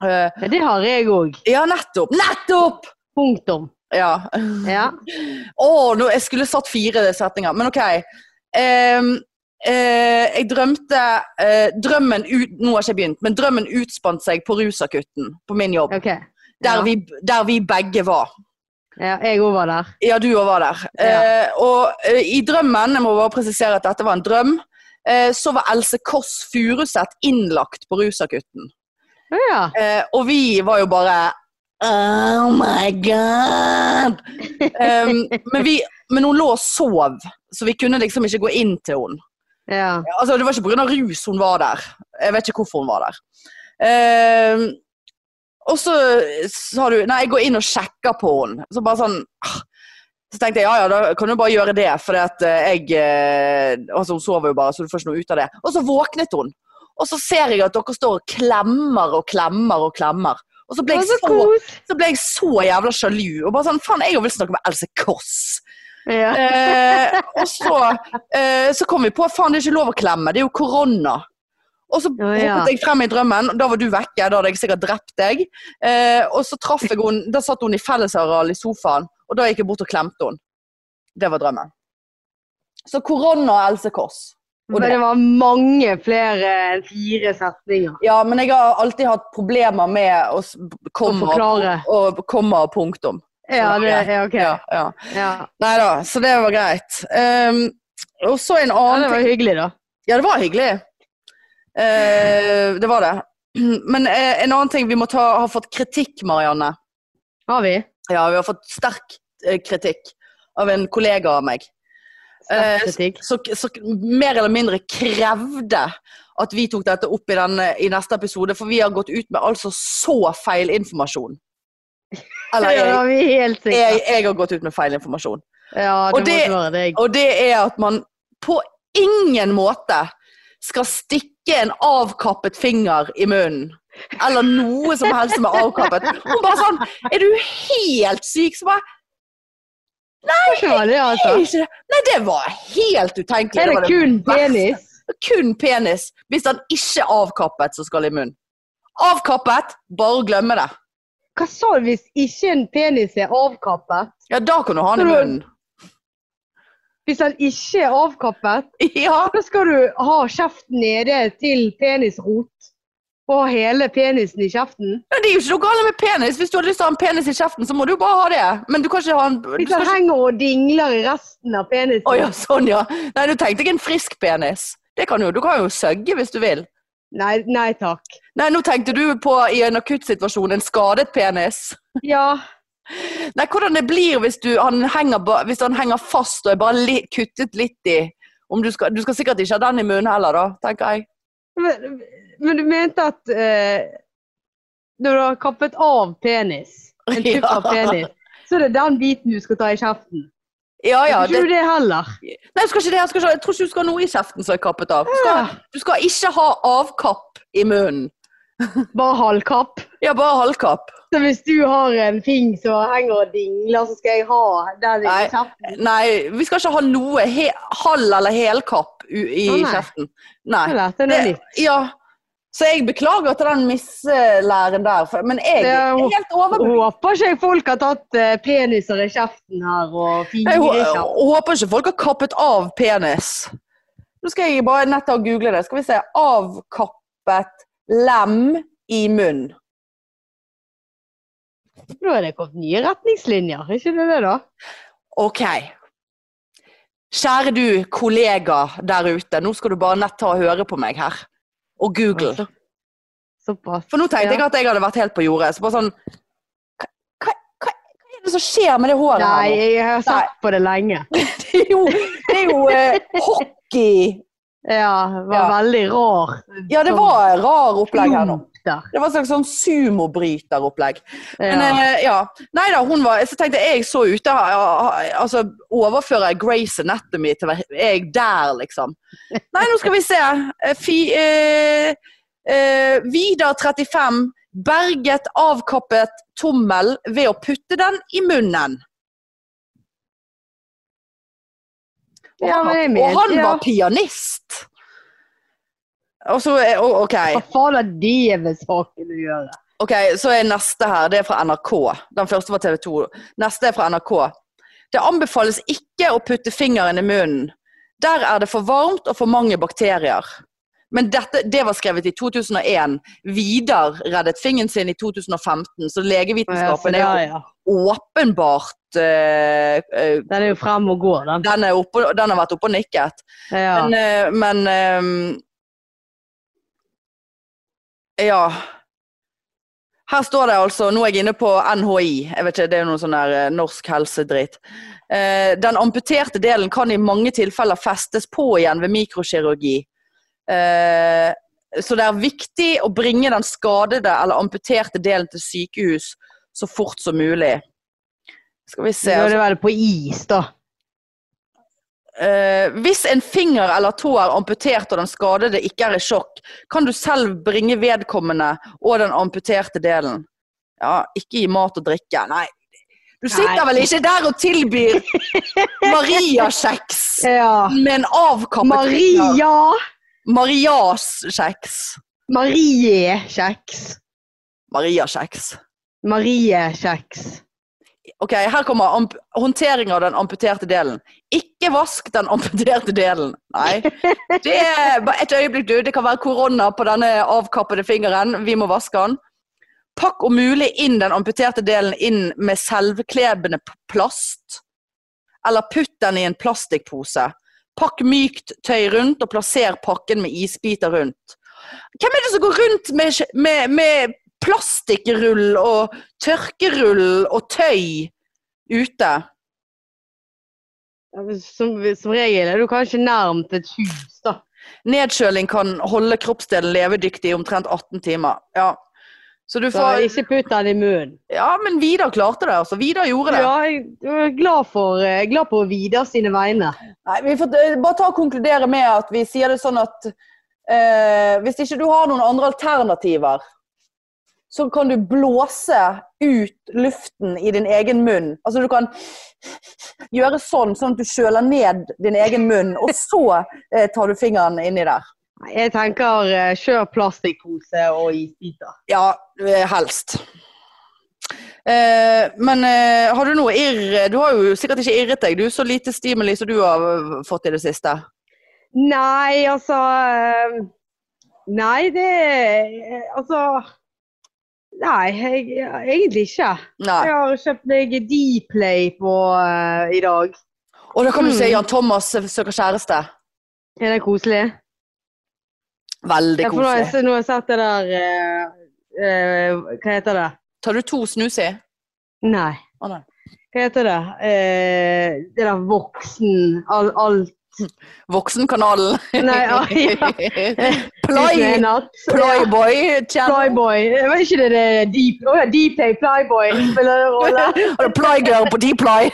Eh, Ja, det har jeg òg. ja, nettopp! Nettopp! Punktum. Ja. Ja. Å, nå, jeg skulle satt fire setninger, men ok. Ehm, eh, jeg drømte eh, Drømmen ut, Nå har jeg ikke begynt, men drømmen utspant seg på Rusakutten, på min jobb. Ok. Der, Ja. vi, der vi begge var. Ja, jeg òg var der. Ja, du òg var der. Eh, og eh, i drømmen, jeg må bare presisere at dette var en drøm, eh, så var Else Kåss Furuseth innlagt på Rusakutten. Å ja. Eh, og vi var jo bare Oh my god! Em, men, vi, men hun lå og sov, så vi kunne liksom ikke gå inn til henne. ja. Altså, det var ikke pga. rus hun var der. Jeg vet ikke hvorfor hun var der. Ehm, og så sa du Nei, jeg går inn og sjekker på henne. Så bare sånn ah. Så tenkte jeg ja ja, da kan du bare gjøre det, for at eh, jeg eh, Altså, hun sover jo bare, så du får ikke noe ut av det. Og så våknet hun. Og så ser jeg at dere står og klemmer og klemmer og klemmer. Og så ble jeg Å, så så, kos. så, ble jeg så jævla sjalu. Og bare sånn Faen, jeg vil snakke med Else Kåss. Ja. Eh, og så, eh, så kom vi på faen det er ikke lov å klemme, det er jo korona. Og så Å, ja. hoppet jeg frem i drømmen, og da var du vekke, da hadde jeg sikkert drept deg. Eh, og så traff jeg henne, da satt hun i fellesareal i sofaen, og da gikk jeg bort og klemte henne. Det var drømmen. Så korona og Else Kåss. Og Men det- det var mange flere enn fire setninger Ja, men jeg har alltid hatt problemer med å s- å komme forklare. og komme og punktum. Ja, det ja, ok. Ja, ja. Ja. Nei da, så det var greit. Um, og så en ja, annen ting. det var hyggelig, da. Ja, det var hyggelig. Eh, det var det. Men eh, en annen ting vi må ta har fått kritikk, Marianne. Har vi? Ja, vi har fått sterk eh, kritikk av en kollega av meg. Eh, Statistikk. Så, så mer eller mindre krevde at vi tok dette opp i, den, i neste episode, for vi har gått ut med altså så feilinformasjon. Ja, Eller det jeg, var vi helt sikre. jeg, jeg har gått ut med feilinformasjon. Ja, det Og måtte det- være deg. Og det er at man på ingen måte skal stikke en avkappet finger i munnen. Eller noe som helst som er avkappet. Hun bare sånn Er du helt syk? Så bare Ikke var det, altså. «Nei, ikke det. Nei, det var helt utenkelig. Er Det det var det kun verste. penis? kun penis. Hvis den ikke er avkappet, så skal i munnen. Avkappet, bare glemme det. Hva sa du hvis ikke en penis er avkappet? Ja, da kan du ha den i Tror du- munnen. Hvis han ikke er avkappet, Ja. da skal du ha kjeften nede til penisrot. Og ha hele penisen i kjeften. Men det er jo ikke noe galt med penis. Hvis du har lyst til å ha en penis i kjeften, så må du bare ha det. Men du kan ikke ha en du Hvis skal han ikke... henger og dingler i resten av penisen. Å ja, sånn ja. Nei, du tenkte ikke en frisk penis. Det kan jo, Du kan jo søgge hvis du vil. Nei, nei takk. Nei, nå tenkte du på i en akuttsituasjon en skadet penis. Ja, Nei, hvordan det blir hvis, du, han, henger, ba- hvis han henger fast og er bare li, kuttet litt i om du, skal, du skal sikkert ikke ha den i munnen heller, da, tenker jeg. men, men du mente at eh, når du har kappet av penis, en tupp av Ja. penis, så er det den biten du skal ta i kjeften. Ja, ja. jeg tror Det, ikke du det heller. nei, jeg, skal ikke det, jeg, skal ikke, jeg tror ikke du skal ha noe i kjeften som er kappet av. Du skal, du skal ikke ha avkapp i munnen. Bare halvkapp. Ja, bare halvkapp. Så hvis du har en fing som henger og dingler, så skal jeg ha den i Nei. kjeften. Nei, vi skal ikke ha noe he, halv- eller helkapp u- i Å, nei. kjeften. Nei. Eller, den er Det, litt. ja. Så jeg beklager til den mislæren der, for- men jeg Ja, er hun- helt overbevist. Håper ikke jeg folk har tatt eh, peniser i kjeften her og fingre Jeg i hå- kjeften. håper ikke folk har kappet av penis. Nå skal jeg bare nett og google det. Skal vi se. Avkappet lem i munn. Nå er det kommet nye retningslinjer, er ikke det det, da? Ok. Kjære du kollega der ute, nå skal du bare nett ta og høre på meg her. Og google. Altså, Såpass. For nå tenkte Ja. jeg at jeg hadde vært helt på jordet. Så bare sånn hva, hva, hva hva er er det som skjer med det håret? Nei, her nå? jeg har sett på det lenge. Det er jo, det er jo eh, hockey Ja, det var Ja. veldig rar. Ja, det var et rar opplegg her nå. Der. Det var et slags sånn sumobryteropplegg. Men Ja. eh, ja. Nei da, hun var Så tenkte jeg jeg så ute ja, Altså, overfører jeg Grace Anatomy til hver- Er jeg der, liksom? Nei, nå skal vi se. Eh, Fi, eh, eh, Vidar 35 berget avkappet tommel ved å putte den i munnen. Og Ja, han, men det er var- mitt, og han ja. var pianist! Og så er- å, OK. Hva faen har det med saken å gjøre? Ok, så er neste her. Det er fra NRK. Den første var TV 2. Neste er fra NRK. Det anbefales ikke å putte fingeren i munnen. Der er det for varmt og for mange bakterier. Men dette, det var skrevet i 2001. Vidar reddet fingeren sin i 2015, så Altså, Ja, så legevitenskapen er der, jo ja. åpenbart eh, eh, Den er jo frem og går, den. den, er oppe, den har vært oppe og nikket. Ja. Men, eh, men ehm, Ja. Her står det altså, nå er jeg inne på NHI, jeg vet ikke, det er jo noe sånn der eh, norsk helsedritt. Eh, den amputerte delen kan i mange tilfeller festes på igjen ved mikrokirurgi. Eh, så det er viktig å bringe den skadede eller amputerte delen til sykehus så fort som mulig. Skal vi Nå se. altså. er det vel på is, da. Eh, hvis en finger eller tå er amputert og den skadede ikke er i sjokk, kan du selv bringe vedkommende og den amputerte delen. Ja, ikke gi mat og drikke. Nei. Du sitter Nei. vel ikke der og tilbyr Maria-kjeks Ja. med en avkappet finger. Maria! Marias-kjeks. Marie-kjeks. Maria-kjeks. Marie-kjeks. Ok, her kommer amp håndtering av den amputerte delen. Ikke vask den amputerte delen. Nei. Det er bare et øyeblikk, du. Det kan være korona på denne avkappede fingeren. Vi må vaske den. Pakk om mulig inn den amputerte delen inn med selvklebende p- plast. Eller putt den i en plastikkpose. Pakk mykt tøy rundt, og plasser pakken med isbiter rundt. Hvem er det som går rundt med, med, med plastikkrull og tørkerull og tøy ute. Som, som regel er du kanskje nærmt et hus, da. Nedkjøling kan holde kroppsdelen levedyktig i omtrent 18 timer. Ja. Så du Så får ikke putt den i munnen. Ja, men Vidar klarte det, altså. Vidar gjorde det. Ja, jeg jeg er glad, for, jeg er glad på Vidar sine vegne. Nei, vi får eh, bare ta og konkludere med at vi sier det sånn at eh, hvis ikke du har noen andre alternativer, så kan du blåse ut luften i din egen munn. Altså du kan gjøre sånn, sånn at du kjøler ned din egen munn, og så eh, tar du fingeren inni der. Nei, Jeg tenker eh, kjør plastikkpose og isbiter. Ja, eh, helst. Eh, men eh, har du noe irr Du har jo sikkert ikke irret deg, du. Så lite stimuli som du har eh, fått i det siste. Nei, altså eh, Nei, det eh, Altså Nei, jeg, ja, egentlig ikke. Nei. Jeg har kjøpt meg Dplay på eh, i dag. Og da kan du si Mm. Jan Thomas søker kjæreste. Er det koselig? Veldig Ja, for nå har jeg, koselig. se- nå har jeg sett det der eh, eh, Hva heter det? Tar du to snus i? Nei. Å, nei. Hva heter det? Eh, det der voksen all, alt Voksenkanalen. Nei, ja, ja. Ply, Plyboy. Channel. Plyboy. Jeg vet ikke det det er Deep Å ja, Dplay Plyboy spiller en rolle. Har du Plygirl på Dply?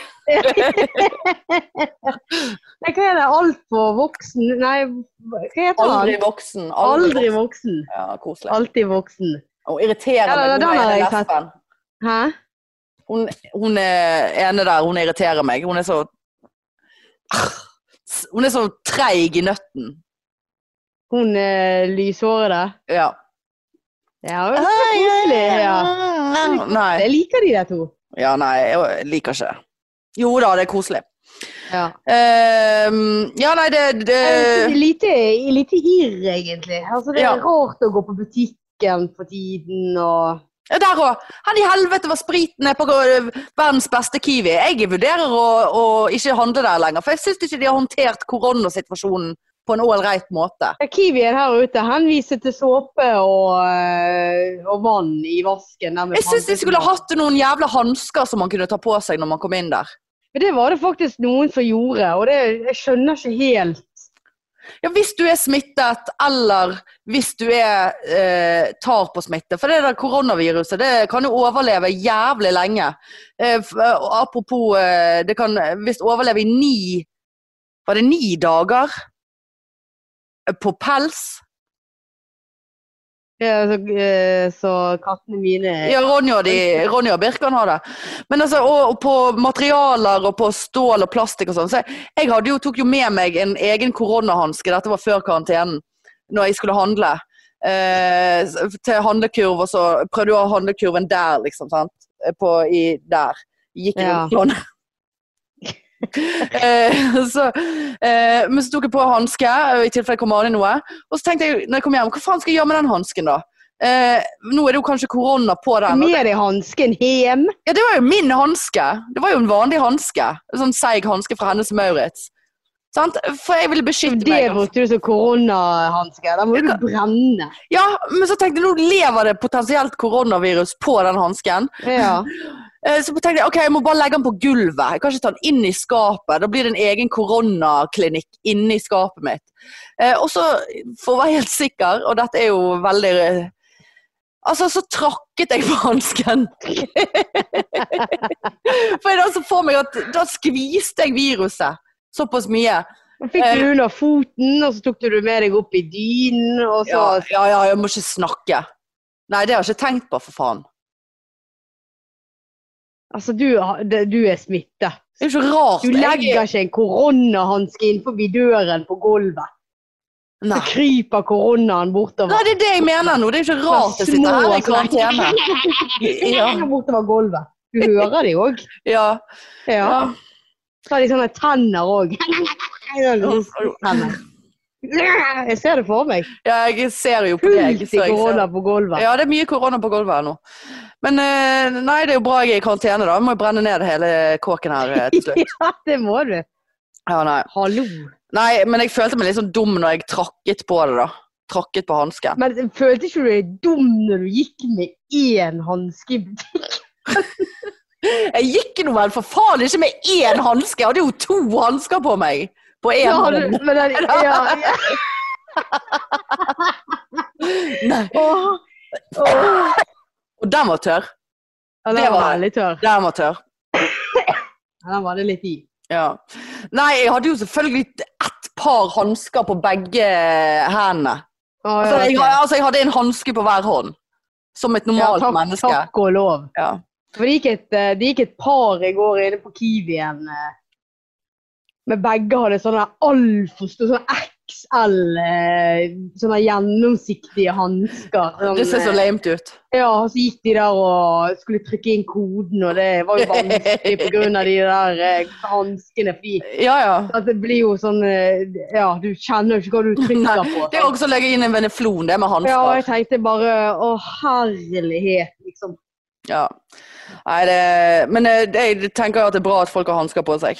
Nei, hva er det? Altfor voksen Nei, hva heter Aldri han? voksen. Aldri voksen. Ja, koselig. Alltid voksen. Og irriterende. Ja, den Hun har er jeg sett. lesben. Hæ? Hun, hun er ene der, hun irriterer meg. Hun er så Ah, Hun er så treig i nøtten. Hun eh, lyshårede? Ja. Ja, det er koselig. Ja. Nei. Jeg liker de der to. Ja, nei, jeg liker ikke det. Jo da, det er koselig. Ja. Ehm, ja, nei, det, det Jeg synes det er lite, lite irr, egentlig. Altså, det er Eh. Ja. rart å gå på butikken for tiden og Ja, Der òg! Han i helvete var spriten er på øh, verdens beste Kiwi. Jeg vurderer å, å ikke handle der lenger, for jeg syns ikke de har håndtert koronasituasjonen på en ålreit måte. Kiwien her ute han viser til såpe og, eh, og vann i vasken. der med Jeg syns de skulle plantesmak. hatt noen jævla hansker som man kunne ta på seg når man kom inn der. Men det var det faktisk noen som gjorde, og det, jeg skjønner ikke helt. Ja, Hvis du er smittet, eller hvis du er, eh, tar på smitte. For det der koronaviruset det kan jo overleve jævlig lenge. Eh, f- og apropos eh, Det kan visst overleve i ni Var det ni dager? Eh, På pels? Ja, så, eh, så kattene mine Ja, Ronja og, de, Ronja og Birkan har det. Men altså, og, og på materialer og på stål og plastikk og sånn. Så jeg, jeg hadde jo, tok jo med meg en egen koronahanske, dette var før karantenen, når jeg skulle handle. Eh, s- til handlekurv, og så prøvde jeg å ha handlekurven der, liksom. sant? På, i, der. Gikk jeg Ja. rundt sånn. eh, så, eh, men så tok jeg på hanske, i tilfelle jeg kom an i noe. Og så tenkte jeg når jeg kom hjem, hva faen skal jeg gjøre med den hansken, da? Eh, nå er det jo kanskje korona på den. og med deg hansken hjem. ja, det var jo min hanske. Det var jo en vanlig hanske. En Sånn seig hanske fra Hennes Maurits. Sant? For jeg ville beskytte Det meg. brukte du som koronahanske. Da må Jeg du kan- brenne. Ja, men så tenkte jeg, nå lever det potensielt koronavirus på den hansken. Ja. Eh, Så tenkte jeg ok, jeg må bare legge den på gulvet. Jeg kan ikke ta den inn i skapet. Da blir det en egen koronaklinikk inni skapet mitt. Eh, Og så, for å være helt sikker, og dette er jo veldig eh, Altså, så trakket jeg på hansken. for jeg da så for meg at da skviste jeg viruset såpass mye. Så fikk Eh. du under foten, og så tok du det med deg opp i dynen, og Ja, så ja, ja, jeg må ikke snakke. Nei, det har jeg ikke tenkt på, for faen. Altså, du, har- det- du er smittet. Det altså, er jo ikke rart. Du legger ikke en koronahanske innenfor døren på gulvet. Nei. Så kryper koronaen bortover. Nei, det er det jeg mener nå. Det er jo ikke rart jeg sitter her sånn i karantene. Ja. Bortover gulvet. Du hører de òg. Ja. Ja. ja. Så har de sånne tenner òg. Jeg ser det for meg. Ja, jeg ser jo på deg. Fullt i Så jeg ser. korona på gulvet. Ja, det er mye korona på gulvet her nå. Men eh, nei, det er jo bra jeg er i karantene, da. Jeg må jo brenne ned hele kåken her eh, til slutt. Ja, det må du. Ja, nei. Hallo. nei, men jeg følte meg litt sånn dum når jeg trakket på det, da. Trakket på hansken. Men følte ikke du deg dum når du gikk med én hanske? i butikken? Jeg gikk nå vel for faen ikke med én hanske! Jeg hadde jo to hansker på meg! På én Ja, du- hånd. men den- ja, ja. Nei. Åh, åh. Og den var tørr. Ja, Det Den var- var veldig tørr. Den var tørr. Ja, Den var det litt i. Ja. Nei, jeg hadde jo selvfølgelig ett par hansker på begge hendene. Åh, Altså, jeg, ja, ok. altså, jeg hadde en hanske på hver hånd. Som et Ja, normalt takk, menneske. Takk og lov. Ja. For det gikk et, eh, det gikk et par i går inne på Kiwien. eh, Men begge hadde sånne altfor store sånne XL, eh, sånne gjennomsiktige hansker. Sånn, Det ser så eh, lamet ut. Ja, og så gikk de der og skulle trykke inn koden, og det var jo vanskelig pga. de der eh, hanskene. Fordi Ja, ja. at det blir jo sånn eh, Ja, du kjenner jo ikke hva du trykker på. Det er også å legge inn en veneflon, det med ja, og jeg hansker. tenkte bare Å, herlighet, liksom. Ja. Nei, det, men eh, det, jeg tenker at det er bra at folk har hansker på seg.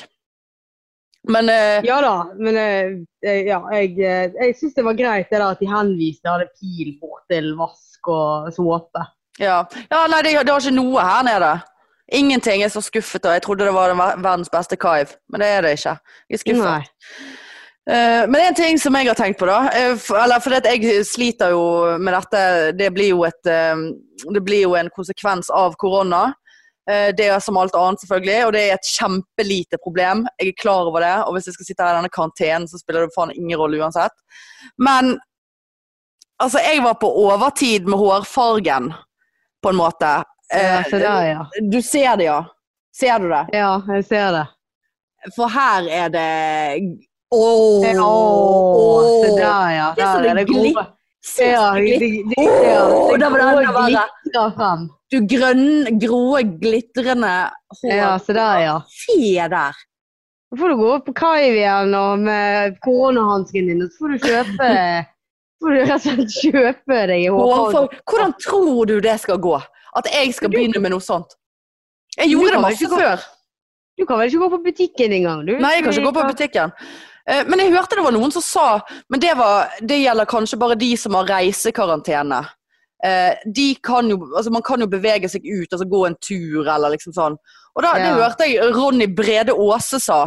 Men eh, Ja da, men eh, eh, ja, jeg, eh, jeg syns det var greit det der at de henviste hadde pil på til vask og såpe. ja. ja nei, det, det har ikke noe her nede. Ingenting. Jeg er så skuffet. og Jeg trodde det var den ver- verdens beste kaiv, men det er det ikke. Jeg er skuffet. Nei. Eh, Men en ting som jeg har tenkt på, da eh, for, eller fordi at Jeg sliter jo med dette. Det blir jo, et, eh, det blir jo en konsekvens av korona. Eh, Det er som alt annet, selvfølgelig, og det er et kjempelite problem. Jeg er klar over det, og hvis jeg skal sitte her i denne karantenen, så spiller det faen ingen rolle uansett. Men altså, jeg var på overtid med hårfargen, på en måte. Ja, Eh, se der, ja. Du ser det, ja. Ser du det? Ja, jeg ser det. For her er det Åh! Å, Åh! se der, ja. Det er så Der er det det gode. Se, Ja, de, de, de, ja, Åh, der var det enda grå verre. glitrer frem. Du grønn, grå, glitrende hår. Ja, se der, ja. Se der. Så får du gå opp på Kaivien og med koronahansken din, og så får du kjøpe så får du rett og slett kjøpe deg i hårfarge. Hårfarge. Hvordan tror du det skal gå? At jeg skal Men du- begynne med noe sånt? Jeg Men du gjorde det kan vel masse ikke gå- før. Du kan vel ikke gå på butikken engang? du? Nei, jeg kan ikke gå på butikken. Eh, Men jeg hørte det var noen som sa Men det, var, det gjelder kanskje bare de som har reisekarantene. Eh, De kan jo, altså man kan jo bevege seg ut, altså gå en tur eller liksom sånn. Og da, det Ja. hørte jeg Ronny Brede Aase sa.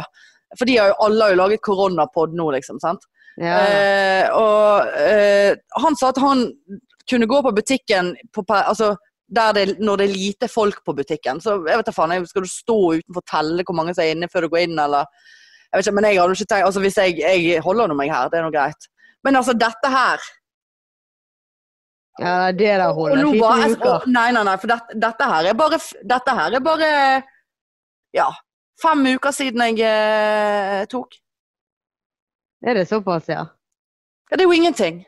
For de har jo, alle har jo laget koronapod nå, liksom. sant? Ja. Eh, og eh, han sa at han kunne gå på butikken på, per- altså, der det, når det er lite folk på butikken. Så jeg vet da faen, jeg- skal du stå utenfor og telle hvor mange som er inne før du går inn, eller jeg vet ikke, Men jeg hadde jo ikke tenkt, altså hvis jeg, jeg holder nå meg her, det er nå greit. Men altså, dette her ja, nei, det der og holder. nå bare, altså, Fire jeg- og- uker. Nei, nei, nei, for dette, dette her er bare f- Dette her er bare Ja. Fem uker siden jeg eh, tok. Er det såpass, ja? Ja, det er jo ingenting.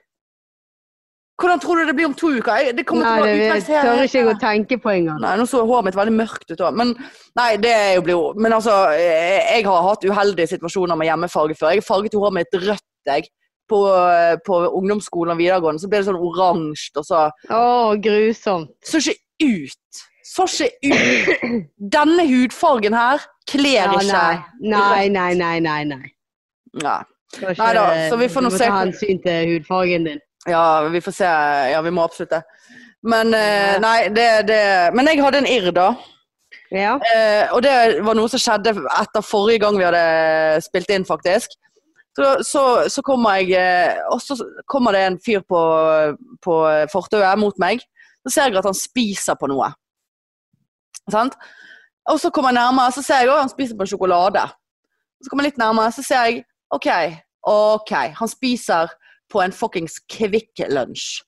Hvordan tror du det blir om to uker? Jeg- Det kommer Nei, til å det være jeg utlagt her- tør ikke jeg å tenke på engang. Nei, nå så håret mitt veldig mørkt ut òg. Men nei, det er jo blod. Men altså, eh, jeg har hatt uheldige situasjoner med hjemmefarge før. Jeg farget jo håret mitt rødt, jeg. På, eh, på ungdomsskolen og videregående. Så ble det sånn oransje, og så Å, grusomt. Så ikke ut! Så ikke ut! Denne hudfargen her kler Ja, ikke. nei. nei, nei, nei, nei. nei. Ja. Det var ikke- Nei da, så vi får nå du må se ta hvor- hensyn til hudfargen din. Ja, vi får se. Ja, vi må absolutt det. Men eh, Ja. nei, det, det Men jeg hadde en irr, da. Ja. Eh, og det var noe som skjedde etter forrige gang vi hadde spilt inn, faktisk. Så, så, så kommer jeg eh, Og så kommer det en fyr på, på eh, fortauet mot meg. Så ser jeg at han spiser på noe. Sant? Og så kommer jeg nærmere, så ser jeg at han spiser på en sjokolade. Så kommer jeg litt nærmere, så ser jeg OK, OK. Han spiser på en fuckings Kvikk Lunsj.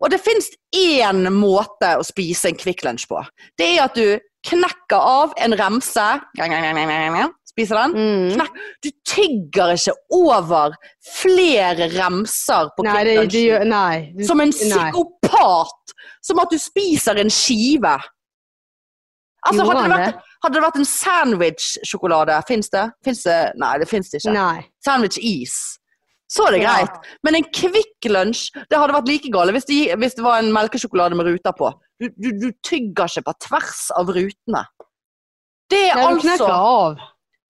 Og det fins én måte å spise en Kvikk Lunsj på. Det er at du knekker av en remse, spiser den. Mm. Du tygger ikke over flere remser på Nei, det, Kvikk det Lunsj. gjør Nei. Du, Som en nei. psykopat! Som at du spiser en skive. Altså, Gjorde hadde det han vært, hadde det vært en sandwich-sjokolade, fins det? Finnes det? Nei, det fins det ikke. Nei. Sandwich-is. Så er det Ja. greit. Men en Kvikk Lunsj det hadde vært like gale hvis det, gi- hvis det var en melkesjokolade med ruter på. Du, du, du tygger ikke på tvers av rutene. Det er Nei, du altså knekker av.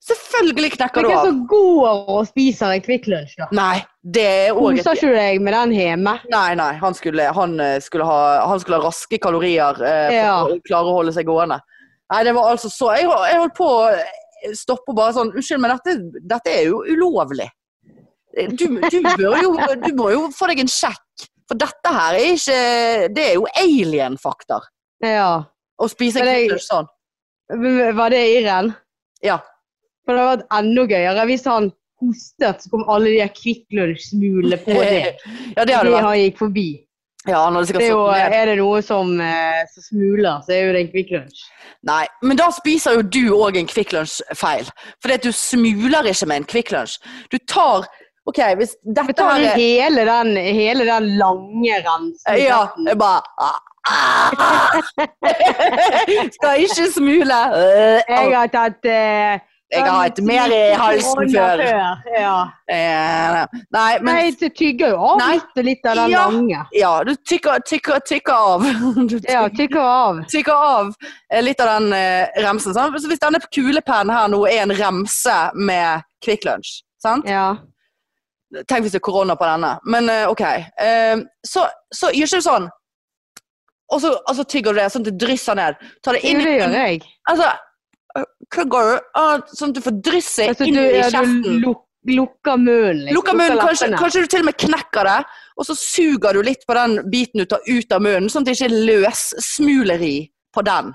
Selvfølgelig Men knekker du Hvem av. som går og spiser en Kvikk Lunsj, da? Nei, det er òg Koser ikke du deg med den hjemme? Nei, nei. Han skulle, han, eh, skulle, ha, han skulle ha raske kalorier eh, for Ja. å klare å holde seg gående. Nei, det var altså så Jeg, hol- jeg holdt på å stoppe og bare sånn Unnskyld, men dette, dette er jo ulovlig. Eh, Du, du, bør jo, du må jo få deg en sjekk. For dette her er ikke Det er jo alien-faktor. Ja. Å spise Men jeg- knuller sånn. Men Var det Irren? Ja. For det hadde vært enda gøyere hvis han hostet, så kom alle de her Kvikk Lunsj-smulene på det. Ja, det hadde de vært han gikk forbi. Ja, han hadde Det sikkert er, jo, slått ned. er det noe som, eh, som smuler, så er jo det en Kvikk Lunsj. Nei, men da spiser jo du òg en Kvikk Lunsj feil. For du smuler ikke med en Kvikk Lunsj. Du tar OK, hvis Men dette tar her du er hele den, hele den lange rensen? Ja, jeg bare ah, ah. Skal ikke smule. Øh, Jeg har tatt eh, Jeg har hatt mer i halsen før. Ja. Eh, Nei, men Nei, du tygger jo av Nei. litt og litt av den Ja. lange. Ja, du tykker, tykker, tykker av. Du Ja, tygger av. tykker av eh, litt av den eh, remsen. Sant? Så hvis denne kulepennen her nå er en remse med Kvikk Lunsj sant? Ja. Tenk hvis det er korona på denne. Men eh, OK. Eh, så, så gjør ikke du sånn. Og så, og så tygger du det, sånn at det drysser ned. Ta det Jo, inn i det gjør jeg. Altså, øh, kugger du, ah, sånn at du får drysse Altså, inn du, i ja, du kjeften. luk, lukker munnen. liksom. Lukker munnen, kanskje, leppene. kanskje du til og med knekker det, og så suger du litt på den biten du tar ut av munnen, sånn at det ikke er løssmuleri på den.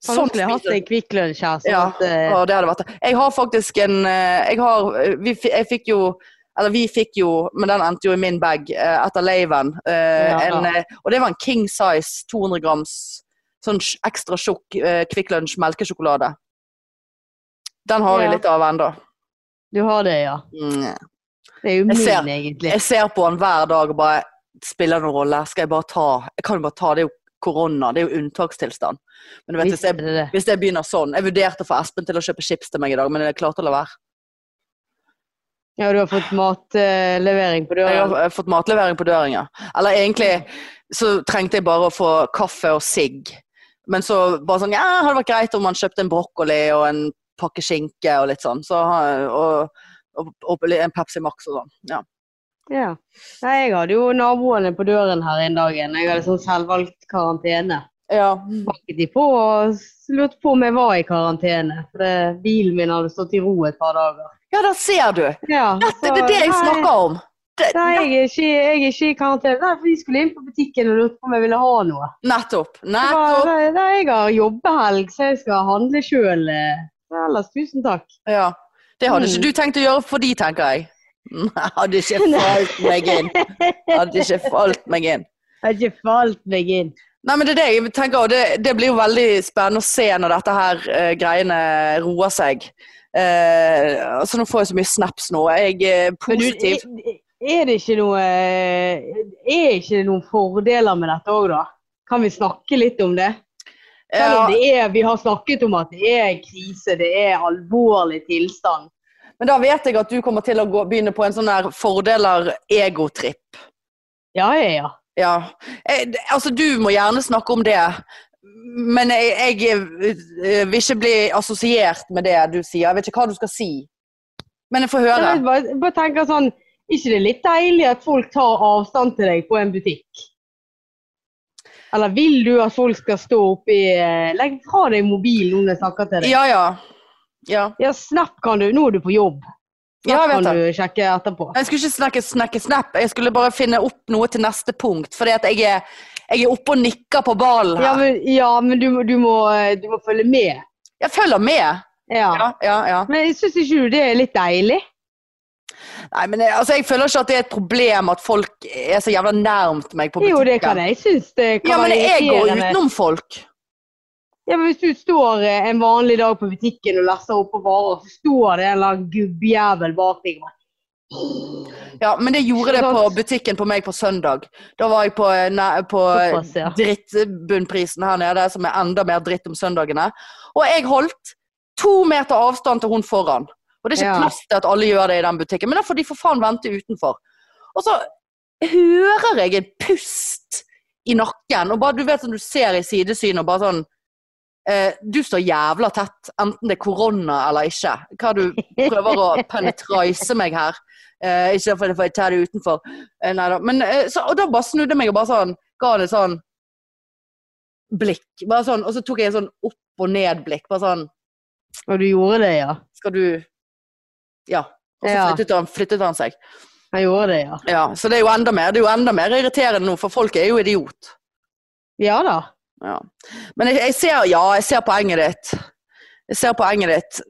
Faen, nå skulle jeg hatt en Kvikk Lunsj her. Sånn sånn Ja. at, eh, Ja, det hadde vært det. Jeg har faktisk en eh, Jeg har vi, fi- Jeg fikk jo Eller vi fikk jo, men den endte jo i min bag eh, etter laven. eh, Ja. en, eh, Og det var en king size 200 grams sånn sj- ekstra tjukk eh, Kvikk Lunsj melkesjokolade. Den har jeg Ja. litt av ennå. du har det, ja. Mm. Det er Jeg jo min, ser. egentlig. Jeg ser på den hver dag og bare Spiller det noen rolle? Skal jeg bare ta Jeg kan jo bare ta Det er jo korona, det er jo unntakstilstand. Men du vet, hvis Visste jeg, det det. hvis jeg begynner sånn Jeg vurderte å få Espen til å kjøpe chips til meg i dag, men jeg klarte å la være. Ja, du har fått matlevering på Jeg døren. har eh, fått matlevering på døren, ja. Eller egentlig så trengte jeg bare å få kaffe og sigg. Men så bare sånn Ja, hadde vært greit om man kjøpte en brokkoli og en pakke skinke og litt sånn. Så, har- og, og, og en Pepsi Max og sånn. Ja. Ja. Nei, jeg hadde jo naboene på døren her en dag. Jeg hadde sånn selvvalgt karantene. ja. Banket de på og s- lurte på om jeg var i karantene. For det, bilen min hadde stått i ro et par dager. Ja, der ser du! Ja, Dette så- det er det jeg nei, snakker om. Det, Nei, jeg er, ikke, jeg er ikke i karantene. Nei, for de skulle inn på butikken og lurte på om jeg ville ha noe. nettopp. Det var- Nettopp. Nei, nei, jeg har jobbehelg, så jeg skal handle sjøl. Ellers tusen takk. Ja. Det hadde Mm. ikke du tenkt å gjøre for de, tenker jeg. Nei, Hadde ikke falt meg inn. Hadde ikke falt meg inn. Jeg har ikke falt meg inn. Nei, men Det er det jeg tenker, og det, det blir jo veldig spennende å se når dette her eh, greiene roer seg. Eh, altså Nå får jeg så mye snaps nå. Jeg eh, er Men du, positiv. er det ikke noe eh, Er ikke det noen fordeler med dette òg, da? Kan vi snakke litt om det? Selv Ja, om det er, vi har snakket om at det er krise, det er alvorlig tilstand. men da vet jeg at du kommer til å gå, begynne på en sånn der fordeler-egotripp. Ja, ja, ja. Ja. Jeg, altså, du må gjerne snakke om det, men jeg, jeg eh, vil ikke bli assosiert med det du sier. Jeg vet ikke hva du skal si, men jeg får Jeg høre. vet bare, bare tenker sånn Ikke det er litt deilig at folk tar avstand til deg på en butikk? Eller vil du at folk skal stå oppi eh, Legg fra deg mobilen når jeg snakker til deg. Ja, ja. Ja, Ja, Snap kan du. Nå er du på jobb. Snap ja jeg vet det. kan du sjekke etterpå. Jeg skulle ikke snakke snakke snap, jeg skulle bare finne opp noe til neste punkt. Fordi at jeg er, jeg er oppe og nikker på ballen Ja, her. men, ja, men du, må- du, må, eh, du må følge med. Jeg følger med. Ja. Ja, ja, ja. Men jeg syns ikke du det er litt deilig? Nei, men jeg, altså, jeg føler ikke at det er et problem at folk er så jævla nærmt meg på Jo, butikken. det kan jeg. Jeg syns det kan Ja, men være jeg går irriterende. utenom folk. Ja, men Hvis du står eh, en vanlig dag på butikken og lesser opp på varer, så står det en eller annen gubbjævel bak deg. Ja, men det gjorde det Ikke på sant? butikken på meg på søndag. Da var jeg på, eh, næ- på Såpass, ja. drittbunnprisen her nede, som er enda mer dritt om søndagene. Og jeg holdt to meter avstand til hun foran. Og det er ikke Ja. plass til at alle gjør det i den butikken, men da får de for faen vente utenfor. Og så hører jeg en pust i nakken, og bare du vet som du ser i sidesyn og bare sånn eh, Du står jævla tett, enten det er korona eller ikke. Hva du prøver å penetrise meg her. Eh, ikke fordi jeg tar det utenfor. Eh, nei da. Men, eh, så, og da bare snudde jeg meg og bare sånn, ga det sånn blikk. Bare sånn, og så tok jeg en sånn opp og ned-blikk. Bare sånn Og du gjorde det, ja. Skal du Ja. Og så Ja. flyttet, han, flyttet han seg. Jeg gjorde det, ja. Ja, Så det er jo enda mer, det er jo enda mer irriterende nå, for folk er jo idiot. Ja da. Ja. Men jeg, jeg ser Ja, jeg ser poenget ditt. Jeg ser poenget ditt.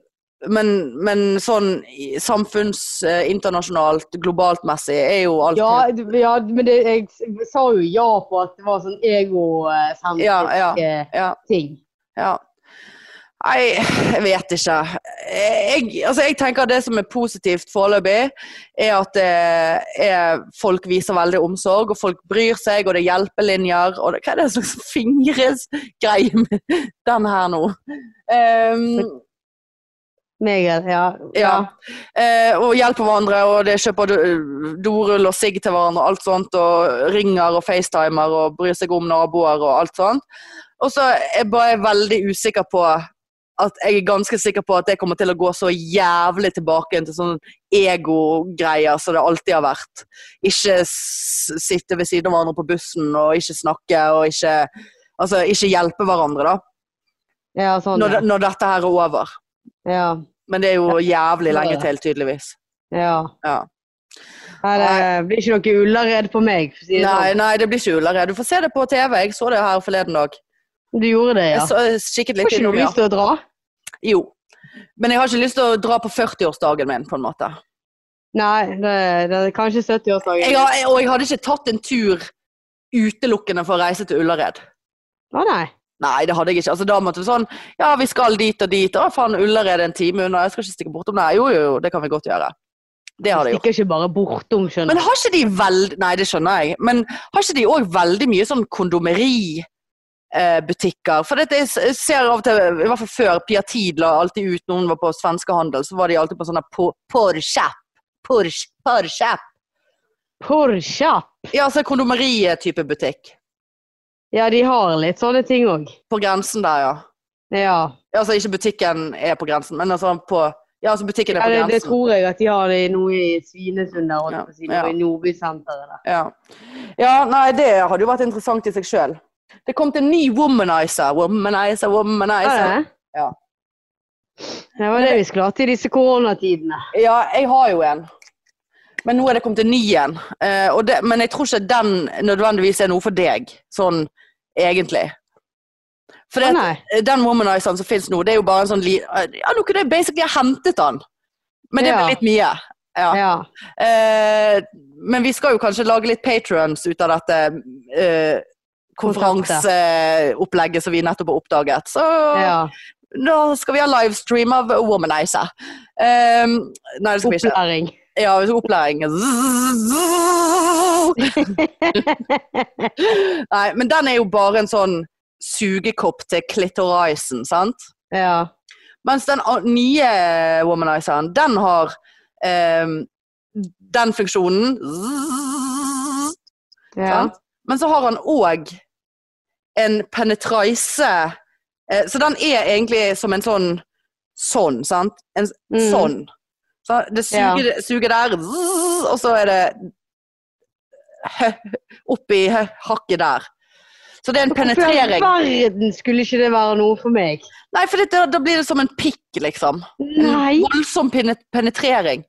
Men, men sånn i- samfunns, eh, internasjonalt, globalt messig er jo alt Ja, du- ja men det, jeg s- sa jo ja på at det var sånn egosentriske Ja, ja, ja. ting. Ja. Nei, jeg vet ikke. Jeg, altså jeg tenker Det som er positivt foreløpig, er at det er, folk viser veldig omsorg, og folk bryr seg, og det er hjelpelinjer. Og det, hva er det slags fingresgreie med den her nå? Um, Meget, ja. ja. Eh, og hjelper hverandre, og det kjøper do- dorull og sigg til hverandre og alt sånt. Og ringer og facetimer og bryr seg om naboer og alt sånt. Og så er jeg bare veldig usikker på at jeg er ganske sikker på at det kommer til å gå så jævlig tilbake igjen til sånne ego-greier som det alltid har vært. Ikke s sitte ved siden av hverandre på bussen og ikke snakke og ikke Altså ikke hjelpe hverandre, da. Ja, sånn. Når, ja. det- når dette her er over. Ja. Men det er jo jævlig Ja. lenge til, tydeligvis. ja. Ja. Nei, det blir ikke noe Ullared på meg. For å si det Nei, sånn. nei, det blir ikke Ullared. Du får se det på TV. Jeg så det her forleden dag. Du gjorde det, ja. Jeg så, jeg kikket Får litt ikke innom, noe ja. lyst til å dra? Jo. Men jeg har ikke lyst til å dra på 40-årsdagen min, på en måte. Nei, det, det er kanskje Jeg 70-årsdagen. har, jeg- og jeg hadde ikke tatt en tur utelukkende for å reise til Ullared. Å nei. Nei, det hadde jeg ikke. Altså, da måtte vi sånn Ja, vi skal dit og dit. Å, faen, Ullared er en time unna. Jeg skal ikke stikke bortom det. Jo, jo, jo, det kan vi godt gjøre. Det har Du de gjort. stikker ikke bare bortom, skjønner Men har ikke de veld... Nei, det skjønner jeg. Men har ikke de òg veldig mye sånn kondomeri? eh, butikker. For dette, jeg ser av og til, i hvert fall før, Pia Tid la alltid ut når hun var på svenskehandel, så var de alltid på sånne porrkjapp. Porrkjapp. Porsche! Ja, altså kondomeriet-type butikk. Ja, de har litt sånne ting òg. På grensen der, ja. Ja. Ja, Altså ikke butikken er på grensen, men altså på Ja, altså butikken er på Eller, det grensen. tror jeg at de har det noe i Svinesund der, holdt jeg på å si, Ja, ja. og i Nordbysenteret der. Ja. ja, nei, det hadde jo vært interessant i seg sjøl. Det kom til en ny womanizer. Womanizer, womanizer. Er det? Ja. Det var det vi skulle hatt i disse koronatidene. Ja, jeg har jo en. Men nå er det kommet en ny en. Eh, og det, men jeg tror ikke den nødvendigvis er noe for deg, sånn egentlig. For det, Å, at nei. den womanizeren som finnes nå, det er jo bare en sånn li Ja, nå kunne jeg basically ha hentet den, men det Ja. blir litt mye. Ja. Ja. Eh, men vi skal jo kanskje lage litt patrons ut av dette eh, konferanseopplegget som vi nettopp har oppdaget. Så ja. da skal vi ha livestream av Womanizer. Eh, nei, det skal vi ikke. Opplæring. Ja, hvis opplæring Nei, men den er jo bare en sånn sugekopp til clitorisen, sant? Ja. Mens den a- nye womanizeren, den har ehm, den funksjonen. ja. Sant? Men så har han òg en penetrise eh, Så den er egentlig som en sånn sånn, sant? En s- Mm. sånn. Så det suger, suger der, og så er det hø- oppi hø- hakket der. Så det er en Hvorfor i all penetrering. verden skulle ikke det være noe for meg? Nei, for det, da- da blir det som en pikk, liksom. En Nei! voldsom pene- penetrering.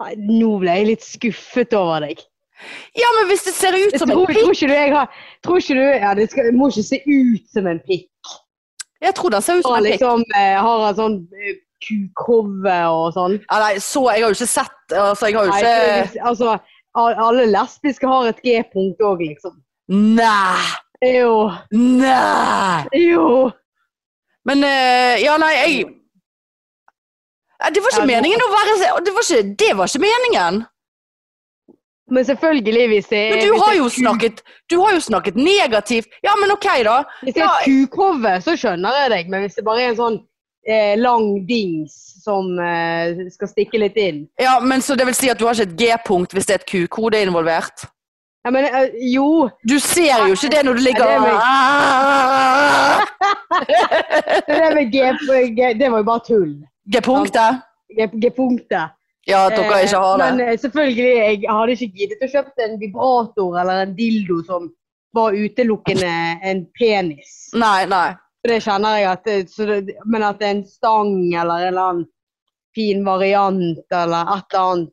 Nei, Nå ble jeg litt skuffet over deg. Ja, men hvis det ser ut Jeg som en tror, pikk tror ikke du jeg har Tror ikke du Ja, det skal, det må ikke se ut som en pikk. Jeg tror den ser ut som Har en pikk. liksom eh, Har en sånn eh, kukhove og sånn. Ja, nei, så Jeg har jo ikke sett altså, jeg har jo ikke... Nei, det er- altså, al- alle lesbiske har et G-punkt òg, liksom. Nei! Jo. Nei! Jo. Men eh, Ja, nei, jeg Nei, Det var ikke Ja, nå- meningen å være det var ikke, det var ikke meningen! Men selvfølgelig, hvis det er Men du Eh, hvis har det er jo ku- snakket Du har jo snakket negativt. Ja, men OK, da. Hvis det er et kukhove, så skjønner jeg deg. Men hvis det bare er en sånn eh, lang dings som eh, skal stikke litt inn Ja, men Så det vil si at du har ikke et G-punkt hvis det er et kukode involvert? Jeg mener, eh, jo. Du ser jo ikke det når du ligger Nei, det er og Det, der med G, G, det var jo bare tull. G-punktet? G- G-punktet. Ja, at dere ikke har Men det? eh, selvfølgelig, jeg hadde ikke giddet å kjøpe en vibrator eller en dildo som var utelukkende en penis. Nei, nei. For det kjenner jeg at det- så det, Men at det er en stang eller en eller annen fin variant eller et eller annet,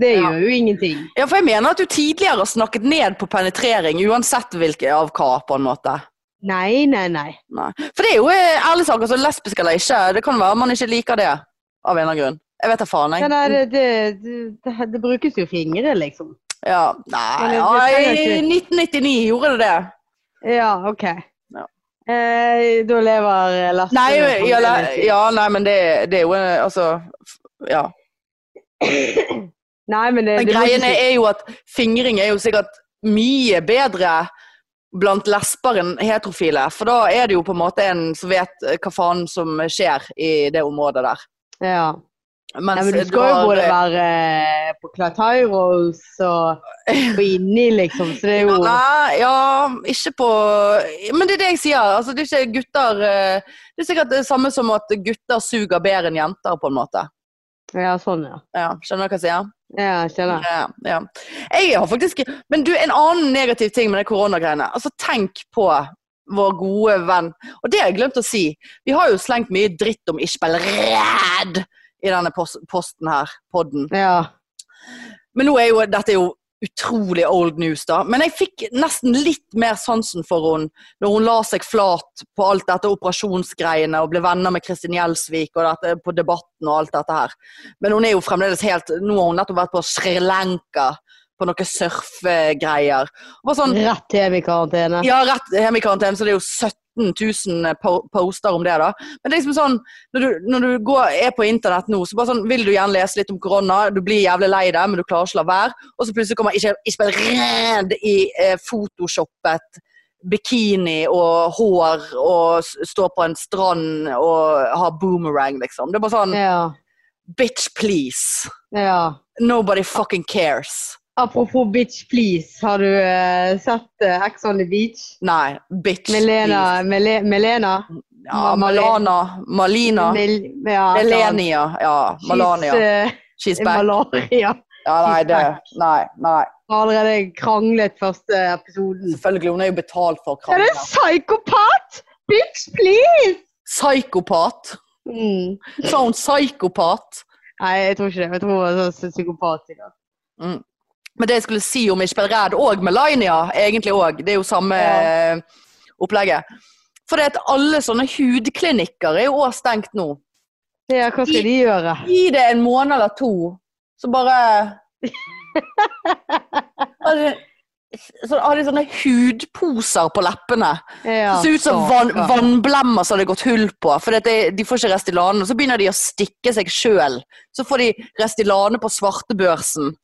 det Ja. gjør jo ingenting. Ja, for jeg mener at du tidligere har snakket ned på penetrering, uansett hvilke av hva, på en måte. Nei, nei, nei. Nei. For det er jo eh, ærlig sak, altså lesbisk eller ikke, det kan være man ikke liker det. Av en eller annen grunn. Jeg vet da faen, Ja, jeg. nei det, det, det, det brukes jo fingre, liksom. Ja, nei, det- ja, det trenger I ikke- 1999 gjorde det det. Ja, OK. Ja. Eh, da lever Lasse Nei, ja, le- ja, nei men det, det er jo eh, Altså, f- ja. Nei, men det, Men det brukes greiene jo- er jo at fingring er jo sikkert mye bedre blant lesber enn heterofile. For da er det jo på en måte en som vet eh, hva faen som skjer i det området der. ja. Mens Nei, men du skal jo både være eh, på Klatairos og på inni, liksom. Så det er jo Nei, ja, ikke på Men det er det jeg sier. Altså, det er ikke gutter eh, Det er sikkert det samme som at gutter suger bedre enn jenter, på en måte. Ja, sånn, ja. Ja, skjønner du hva jeg sier? Ja, jeg skjønner. Ja, ja. Jeg har faktisk Men du, en annen negativ ting med det koronagreiene. Altså, tenk på vår gode venn Og det har jeg glemt å si. Vi har jo slengt mye dritt om Ishbel Red i denne pos- posten her, podden. Ja. Men nå er jo, dette er jo utrolig old news, da. Men jeg fikk nesten litt mer sansen for henne når hun la seg flat på alt dette operasjonsgreiene og ble venner med Kristin Gjelsvik og dette, på Debatten og alt dette her. Men hun er jo fremdeles helt Nå har hun nettopp vært på Sri Lanka på noen surfegreier. Og bare sånn Rett hjem i karantene. ja, rett hjemme i karantene, så det er jo 17 000 po- poster om det, da. Men det er liksom sånn, når du, når du går, er på internett nå, så bare sånn, vil du gjerne lese litt om korona, du blir jævlig lei deg, men du klarer ikke å la være. Og så plutselig kommer ikke, ikke redd i eh, photoshoppet bikini og hår og s- står på en strand og har boomerang, liksom. Det er bare sånn, Ja. bitch please. ja. Nobody fucking cares. Apropos bitch please, har du eh, sett eh, Ex on the beach? Nei, bitch Melena, Mele, Melena? please. Ja, Malana, Malina, Mil- ja, altså, Elenia. Ja, Malania. She's, She's eh, back. Malaria. Ja, nei, det Nei, nei. Har allerede kranglet første episoden. Selvfølgelig, hun er jo betalt for Er krangler. det en psykopat? Bitch, please! Psykopat! Mm. Sa hun psykopat? Nei, jeg tror ikke det. Jeg tror hun er sånn psykopat. sikkert. Mm. Men det jeg skulle si om Ishbel Red og Melania, egentlig òg, det er jo samme Ja. eh, opplegget. For det at alle sånne hudklinikker er jo òg stengt nå. Ja, hva skal de gjøre? Gi det en måned eller to, så bare Altså, Så har de sånne hudposer på leppene. Ja, det ser ut som vann, stakkar. vannblemmer som det er gått hull på. For det, de får ikke Restylane. Og så begynner de å stikke seg sjøl. Så får de Restylane på svartebørsen.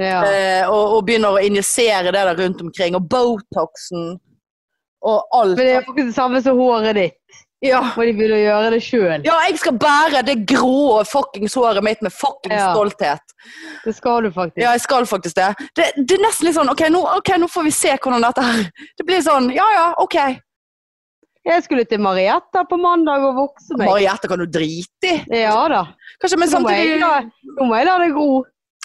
Ja. Eh, og, og begynner å injisere det der rundt omkring. Og Botoxen og alt. Men det er jo akkurat det samme som håret ditt. ja. Må de begynne å gjøre det sjøl. ja, jeg skal bære det grå fuckings håret mitt med fuckings Ja. stolthet. Det skal du faktisk. Ja, jeg skal faktisk det. Det, det er nesten litt sånn ok nå, ok, nå får vi se hvordan dette her Det blir sånn Ja, ja, OK. Jeg skulle til Marietta på mandag og vokse meg. Mariette kan du drite i. Ja da. Kanskje, men Nå må jeg, samtidig la- nå må jeg la det gro.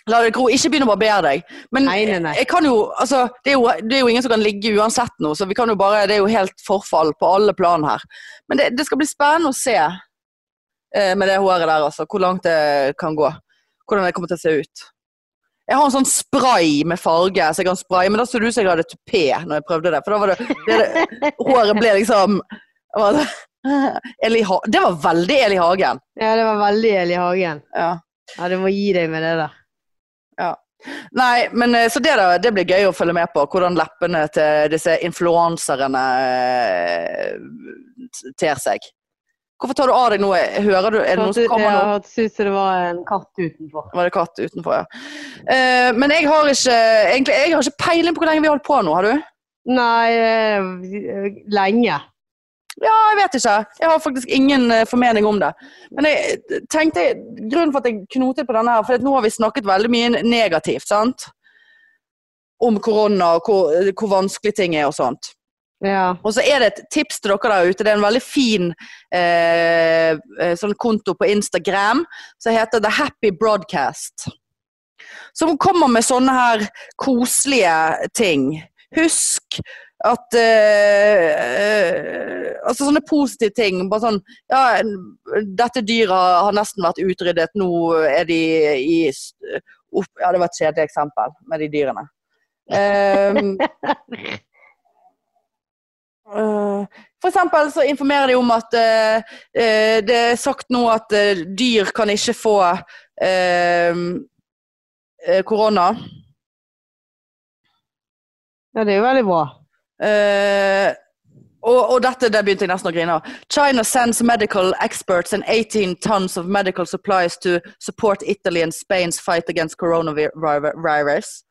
La det gro. Ikke begynn å barbere deg. Men Nei, nei, nei. jeg kan jo Altså, det er jo, det er jo ingen som kan ligge uansett nå, så vi kan jo bare Det er jo helt forfall på alle plan her. Men det, det skal bli spennende å se eh, med det håret der, altså. Hvor langt det kan gå. Hvordan det kommer til å se ut. Jeg har en sånn spray med farge, så jeg kan spraye, men da så det ut som jeg hadde tupé når jeg prøvde det. For da var det, det, det Håret ble liksom det var, Eli ha Det var veldig Eli Hagen. Ja, det var veldig Eli Hagen. Ja. Ja, du må gi deg med det der. Nei, men eh, så det, da, det blir gøy å følge med på. Hvordan leppene til disse influenserne eh, ter seg. Hvorfor tar du av deg noe? Hører du, er det noen som det kommer nå? hørtes ut som det var en katt utenfor. Var det katt utenfor, ja. Eh, men jeg har ikke egentlig, jeg har ikke peiling på hvor lenge vi har holdt på nå, har du? Nei, eh, lenge. Ja, jeg vet ikke. Jeg har faktisk ingen eh, formening om det. Men jeg eh, tenkte, grunnen for at jeg knotet på denne her, for at nå har vi snakket veldig mye negativt, sant? Om korona og hvor, hvor vanskelig ting er og sånt. Ja. Og så er det et tips til dere der ute. Det er en veldig fin eh, eh, sånn konto på Instagram som heter The Happy Broadcast. Som kommer med sånne her koselige ting. Husk at eh, eh, Altså sånne positive ting. Bare sånn Ja, dette dyret har- har nesten vært utryddet. Nå er de i s- opp, Ja, det var et kjedelig eksempel med de dyrene. Um, Eh, For eksempel så informerer de om at eh, eh, det er sagt nå at eh, dyr kan ikke få eh, eh, korona. ja, det er jo veldig bra. Eh, og, og dette der begynte jeg nesten å grine av. China sends medical experts and 18 tons of medical supplies to support Italy and Spain's fight against coronavirus.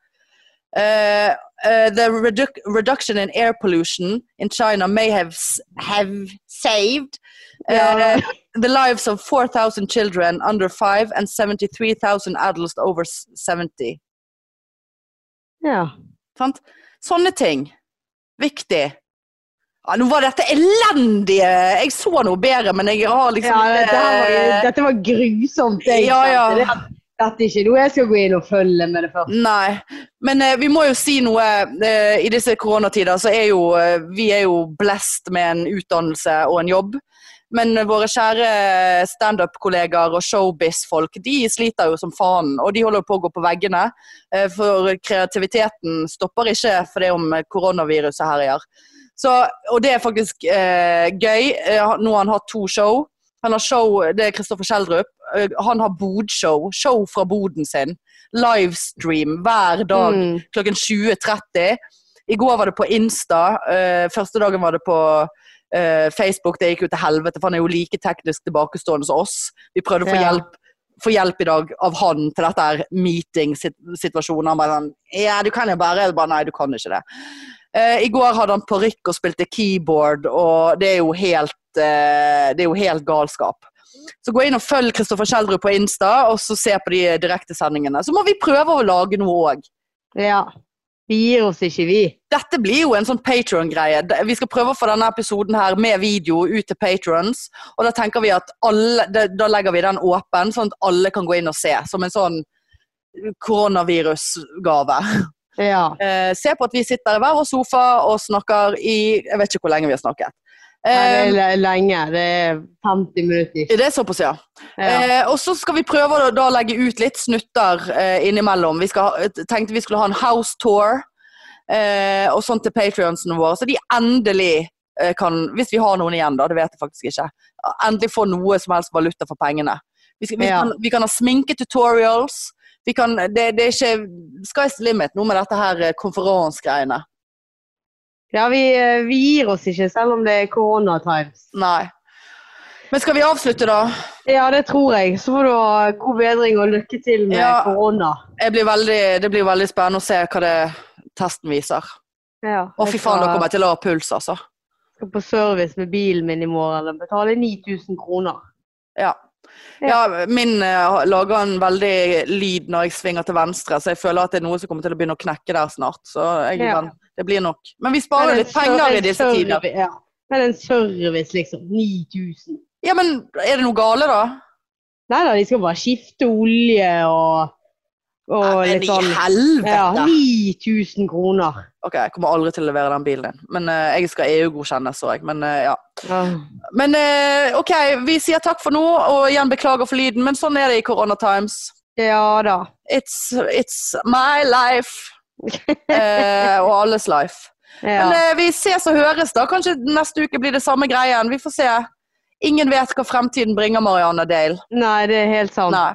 Eh, eh, the reduc- reduction in air pollution in China may have, s- have saved eh, the lives of 4,000 children under 5 and 73,000 adults over s- 70. Ja. Sant? Sånne ting. Viktig. Ja, nå var dette elendige Jeg så noe bedre, men jeg har liksom ja dette, her var, jo- eh, dette var grusomt. det jeg Ja, ja. kjente. Det- Dette er ikke noe jeg skal gå inn og følge med det første. Nei. Men eh, vi må jo si noe. eh, I disse koronatider så er jo eh, vi er jo blessed med en utdannelse og en jobb. Men eh, våre kjære eh, standup-kollegaer og showbiz-folk de sliter jo som faen. Og de holder på å gå på veggene. eh, For kreativiteten stopper ikke for det om eh, koronaviruset herjer. Så, og det er faktisk eh, gøy. Eh, han- Nå har han hatt to show. Han har show, Det er Kristoffer Schjelderup. Eh, Han har bodshow. Show fra boden sin. Livestream hver dag Mm. klokken 20.30. I går var det på Insta. eh, første dagen var det på eh, Facebook. Det gikk jo til helvete, for han er jo like teknisk tilbakestående som oss. Vi prøvde å få Ja. hjelp få hjelp i dag av han til dette her meeting-situasjonen. Han bare sånn Ja, du kan jo bare Jeg bare, Nei, du kan ikke det. Eh, I går hadde han parykk og spilte keyboard, og det er jo helt, eh, det er jo helt galskap. Så gå inn og følg Kristoffer Schjelderud på eh, Insta, og så se på de direktesendingene. Så må vi prøve å lage noe òg. Ja. Vi gir oss ikke, vi. Dette blir jo en sånn Patron-greie. Det- Vi skal prøve å få denne episoden her med video ut til patrons. Og da tenker vi at alle, da- da legger vi den åpen, sånn at alle kan gå inn og se. Som en sånn koronavirusgave. Ja. Eh, se på at vi sitter i hver vår sofa og snakker i Jeg vet ikke hvor lenge vi har snakket. Nei, det Eh, er le- lenge. Det er 50 minutter. det Eh, er såpass, ja. Ja. Eh, og så skal vi prøve å da, da legge ut litt snutter eh, innimellom. Vi skal, ha- eh, tenkte vi skulle ha en house tour eh, og sånn til patrionsen våre, så de endelig eh, kan Hvis vi har noen igjen, da, det vet jeg faktisk ikke. Endelig få noe som helst valuta for pengene. Vi, skal, vi, Ja. kan, vi kan ha sminketutorials. Vi kan, det, det er ikke Sky's the limit nå med dette her eh, konferansegreiene. Ja, vi, eh, vi gir oss ikke, selv om det er koronatimes. Nei. Men skal vi avslutte, da? Ja, det tror jeg. Så får du ha god bedring og lykke til med Ja. korona. Jeg blir veldig, det blir veldig spennende å se hva det testen viser. Ja. Å, fy faen, da jeg kommer skal, jeg til å ha puls, altså. skal på service med bilen min i morgen og betale 9000 kroner. Ja. ja min eh, lager en veldig lyd når jeg svinger til venstre, så jeg føler at det er noe som kommer til å begynne å knekke der snart. Så jeg, Ja. men det blir nok. Men vi Men sparer en litt penger serv- i disse en tider. serv- Ja. Men en service, liksom. 9000. Ja, men er det noe gale, da? Nei da, de skal bare skifte olje og, og Nei, men litt sånn. i helvete! Ja, 9000 kroner. Ok, jeg kommer aldri til å levere den bilen din. Men eh, jeg skal EU-godkjennes, så jeg. Men eh, ja. Men eh, OK, vi sier takk for nå, og igjen beklager for lyden, men sånn er det i Corona Times. Ja da. It's, it's my life. Eh, og alles life. Ja. Men eh, vi ses og høres, da. Kanskje neste uke blir det samme greien. Vi får se. Ingen vet hva fremtiden bringer, Marianne Dale. Nei, det er helt sant. Nei.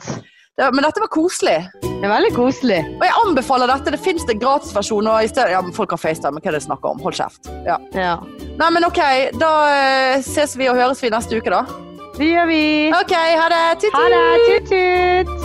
Det, men dette var koselig. Det er veldig koselig. Og jeg anbefaler dette. Det fins det gratisversjon. Og i stedet, ja, men folk kan FaceTime. Hva er det jeg snakker om? Hold kjeft. Ja. Ja. Nei, men OK. Da eh, ses vi og høres vi neste uke, da. Det gjør vi. OK, ha det. Tut, Ha tut. det. Tut-tut.